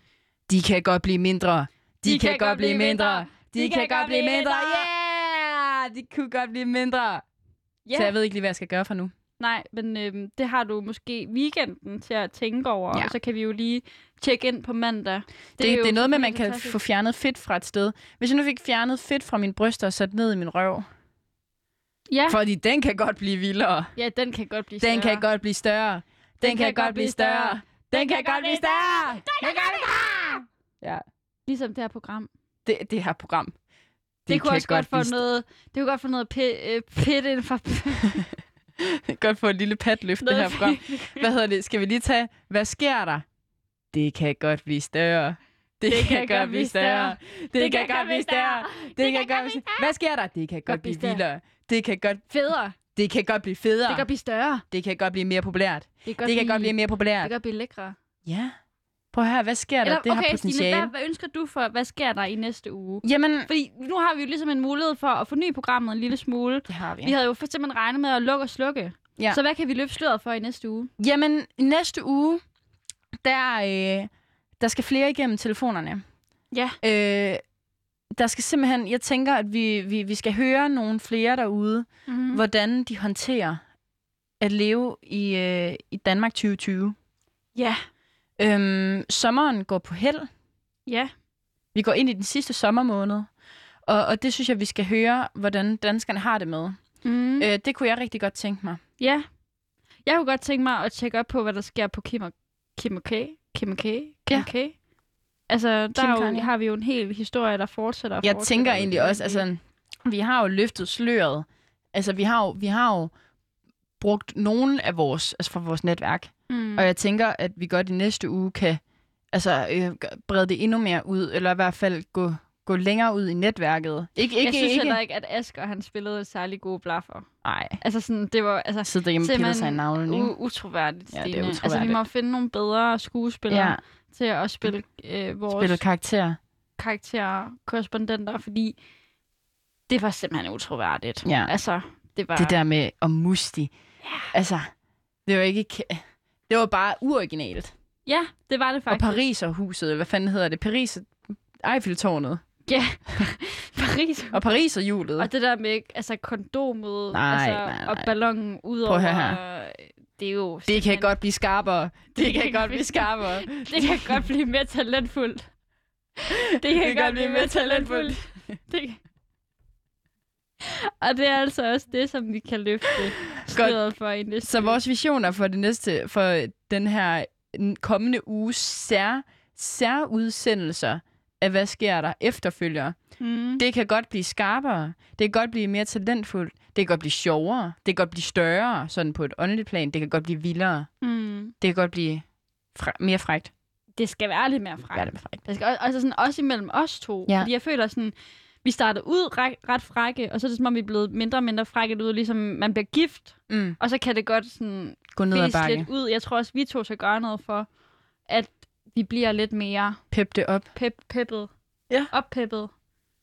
Speaker 1: De kan godt blive mindre. De, de kan, kan godt blive mindre. De, de kan, kan godt blive mindre. Ja! Yeah! De kunne godt blive mindre.
Speaker 2: Ja.
Speaker 1: Så jeg ved ikke lige, hvad jeg skal gøre for nu.
Speaker 2: Nej, men øhm, det har du måske weekenden til at tænke over, ja.
Speaker 1: Ja.
Speaker 2: og så kan vi jo lige tjekke ind på mandag.
Speaker 1: Det, det,
Speaker 2: jo
Speaker 1: er, det er noget med, at man
Speaker 2: selvfølgelig
Speaker 1: kan
Speaker 2: fantastisk.
Speaker 1: få fjernet fedt fra et sted. Hvis jeg nu fik fjernet fedt fra mine bryster og sat ned i min røv.
Speaker 2: Ja,
Speaker 1: Fordi den kan godt blive vildere.
Speaker 2: ja, den kan godt blive
Speaker 1: Den
Speaker 2: større.
Speaker 1: kan godt blive større. Den kan godt blive større. Den kan godt blive større. Den kan godt blive større. Ja,
Speaker 2: Ligesom det her program.
Speaker 1: det, det her program.
Speaker 2: Det, det kunne også godt,
Speaker 1: blive
Speaker 2: få noget, det kunne godt få noget pi- øh, pit ind fra
Speaker 1: st- godt få et lille patløft, det her program. Hvad hedder det? Skal vi lige tage, hvad sker der? Det kan godt blive større. Det, det kan, godt blive større. Det kan godt blive større. Det kan godt blive større. Hvad sker der? Det kan godt
Speaker 2: blive
Speaker 1: blive
Speaker 2: større.
Speaker 1: vildere. Det kan godt
Speaker 2: Federe.
Speaker 1: Det kan godt blive
Speaker 2: Det
Speaker 1: federe.
Speaker 2: kan
Speaker 1: Det kan,
Speaker 2: blive større.
Speaker 1: det kan godt blive mere populært.
Speaker 2: Det kan
Speaker 1: Det kan godt blive mere
Speaker 2: Det
Speaker 1: populært.
Speaker 2: kan godt blive lækre.
Speaker 1: Ja. Prøv at høre, hvad sker der?
Speaker 2: Eller,
Speaker 1: det har
Speaker 2: okay,
Speaker 1: potentiale.
Speaker 2: Stine, hvad, hvad ønsker du for, hvad sker der i næste uge?
Speaker 1: Jamen,
Speaker 2: Fordi nu har vi jo ligesom en mulighed for at forny programmet en lille smule.
Speaker 1: det har vi.
Speaker 2: Vi havde jo for simpelthen regnet med at lukke og slukke.
Speaker 1: Ja.
Speaker 2: Så hvad kan vi løfte sløret for i næste uge?
Speaker 1: Jamen, i næste uge, der, øh, der skal flere igennem telefonerne.
Speaker 2: Ja.
Speaker 1: Øh, der skal simpelthen, jeg tænker, at vi, vi, vi skal høre nogle flere derude, mm.
Speaker 2: Mm-hmm.
Speaker 1: hvordan de håndterer at leve i, øh, i Danmark 2020.
Speaker 2: Ja.
Speaker 1: Øhm, sommeren går på held.
Speaker 2: Ja.
Speaker 1: Vi går ind i den sidste sommermåned. Og, og det synes jeg, vi skal høre, hvordan danskerne har det med.
Speaker 2: Mm.
Speaker 1: Mm. Øh, det kunne jeg rigtig godt tænke mig.
Speaker 2: Ja. Jeg kunne godt tænke mig at tjekke op på, hvad der sker på Kim og Kim og K. Kim og K. Kim
Speaker 1: Ja.
Speaker 2: og K. Altså, der
Speaker 1: Kim
Speaker 2: er jo,
Speaker 1: Kanye.
Speaker 2: har vi jo en hel historie, der fortsætter. og
Speaker 1: Jeg
Speaker 2: fortsætter
Speaker 1: tænker
Speaker 2: ud i
Speaker 1: egentlig
Speaker 2: den
Speaker 1: også,
Speaker 2: del.
Speaker 1: altså, vi har jo løftet sløret. Altså, vi har jo, vi har jo brugt nogen af vores, altså fra vores netværk.
Speaker 2: Mm.
Speaker 1: Og jeg tænker, at vi godt i næste uge kan altså, øh, g- brede det endnu mere ud, eller i hvert fald gå, gå længere ud i netværket. Ikke, ikke,
Speaker 2: Jeg synes
Speaker 1: ikke.
Speaker 2: heller ikke, at Asger han spillede særlig gode blaffer.
Speaker 1: Nej,
Speaker 2: Altså sådan, det var altså
Speaker 1: sidde derhjemme og pille
Speaker 2: Simpelthen
Speaker 1: sig i navlen, ikke?
Speaker 2: u- utroværdigt,
Speaker 1: Ja, det er
Speaker 2: Stine. Altså, vi
Speaker 1: utroværdigt.
Speaker 2: må finde nogle bedre skuespillere
Speaker 1: Ja,
Speaker 2: ja. til at spille øh, vores
Speaker 1: spille karakter.
Speaker 2: karakterer, korrespondenter, fordi det var simpelthen utroværdigt.
Speaker 1: Ja.
Speaker 2: Altså, det var...
Speaker 1: Det der med om musti. Altså, det var ikke... k- Det var bare uoriginalt.
Speaker 2: Ja, det var det
Speaker 1: Og
Speaker 2: faktisk.
Speaker 1: Pariserhuset, hvad fanden hedder det? Paris... Eiffeltårnet.
Speaker 2: Ja, Paris.
Speaker 1: Og Pariserhjulet.
Speaker 2: Og det der med altså, kondomet
Speaker 1: Nej,
Speaker 2: altså,
Speaker 1: nej, nej.
Speaker 2: og ballonen ud
Speaker 1: Prøv
Speaker 2: over...
Speaker 1: at høre her.
Speaker 2: Det er jo...
Speaker 1: Det kan
Speaker 2: simpelthen-
Speaker 1: godt blive skarpere. Det kan godt blive skarpere.
Speaker 2: Det kan godt blive mere talentfuldt. Det kan,
Speaker 1: kan godt blive mere talentfuldt.
Speaker 2: Det kan... Og det er altså også det, som vi kan løfte sløret for i næste
Speaker 1: Så vores visioner for det næste, for den her kommende uges sær, særudsendelser af, hvad sker der efterfølger.
Speaker 2: Mm.
Speaker 1: Det kan godt blive skarpere. Det kan godt blive mere talentfuldt. Det kan godt blive sjovere. Det kan godt blive større, sådan på et åndeligt plan. Det kan godt blive vildere.
Speaker 2: Mm.
Speaker 1: Det kan godt blive fra, mere frægt.
Speaker 2: Det skal være lidt mere
Speaker 1: Ja,
Speaker 2: frækt.
Speaker 1: det er frægt.
Speaker 2: Der skal også, altså sådan, også imellem os to.
Speaker 1: Ja.
Speaker 2: Ja. Fordi jeg føler sådan, vi startede ud ret, ret frække, og så er det som om, vi er blevet mindre og mindre frække. Det lyder ligesom, man bliver gift,
Speaker 1: Mm.
Speaker 2: og så kan det godt sådan
Speaker 1: Gå ned ad
Speaker 2: fisse lidt
Speaker 1: bakke.
Speaker 2: ud. Jeg tror også, vi to skal gøre noget for, at vi bliver lidt mere
Speaker 1: Pep det op.
Speaker 2: pep, peppet.
Speaker 1: Ja.
Speaker 2: Oppeppet.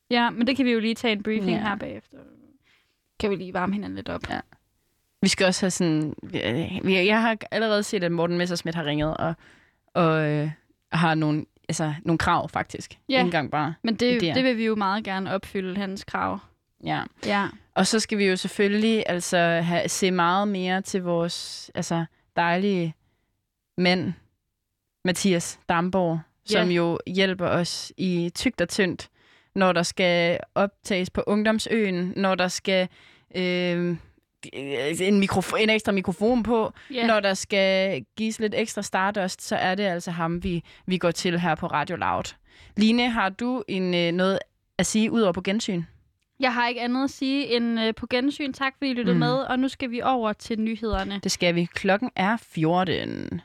Speaker 2: Ja, men det kan vi jo lige tage en briefing
Speaker 1: Ja.
Speaker 2: ja. her bagefter. Kan vi lige varme hinanden lidt op.
Speaker 1: Ja. Vi skal også have sådan... vi- Jeg har allerede set, at Morten Messersmith har ringet og, og øh, har nogle, altså, nogle krav, faktisk.
Speaker 2: Ja.
Speaker 1: Ikke engang bare.
Speaker 2: Men det,
Speaker 1: Idéer.
Speaker 2: det vil vi jo meget gerne opfylde, hans krav.
Speaker 1: Ja.
Speaker 2: Ja.
Speaker 1: Og så skal vi jo selvfølgelig altså have, se meget mere til vores altså, dejlige mænd, Mathias Damborg,
Speaker 2: Ja.
Speaker 1: som jo hjælper os i tygt og tyndt, når der skal optages på Ungdomsøen, når der skal øh, en, mikrofon, en ekstra mikrofon på,
Speaker 2: ja.
Speaker 1: ja. når der skal gives lidt ekstra stardust, så er det altså ham, vi, vi går til her på Radio Loud. Line, har du en, øh, noget at sige ud over på gensyn?
Speaker 2: Jeg har ikke andet at sige end øh, på gensyn. Tak fordi I lyttede
Speaker 1: Mm.
Speaker 2: mm. med, og nu skal vi over til nyhederne.
Speaker 1: Det skal vi. Klokken er 14.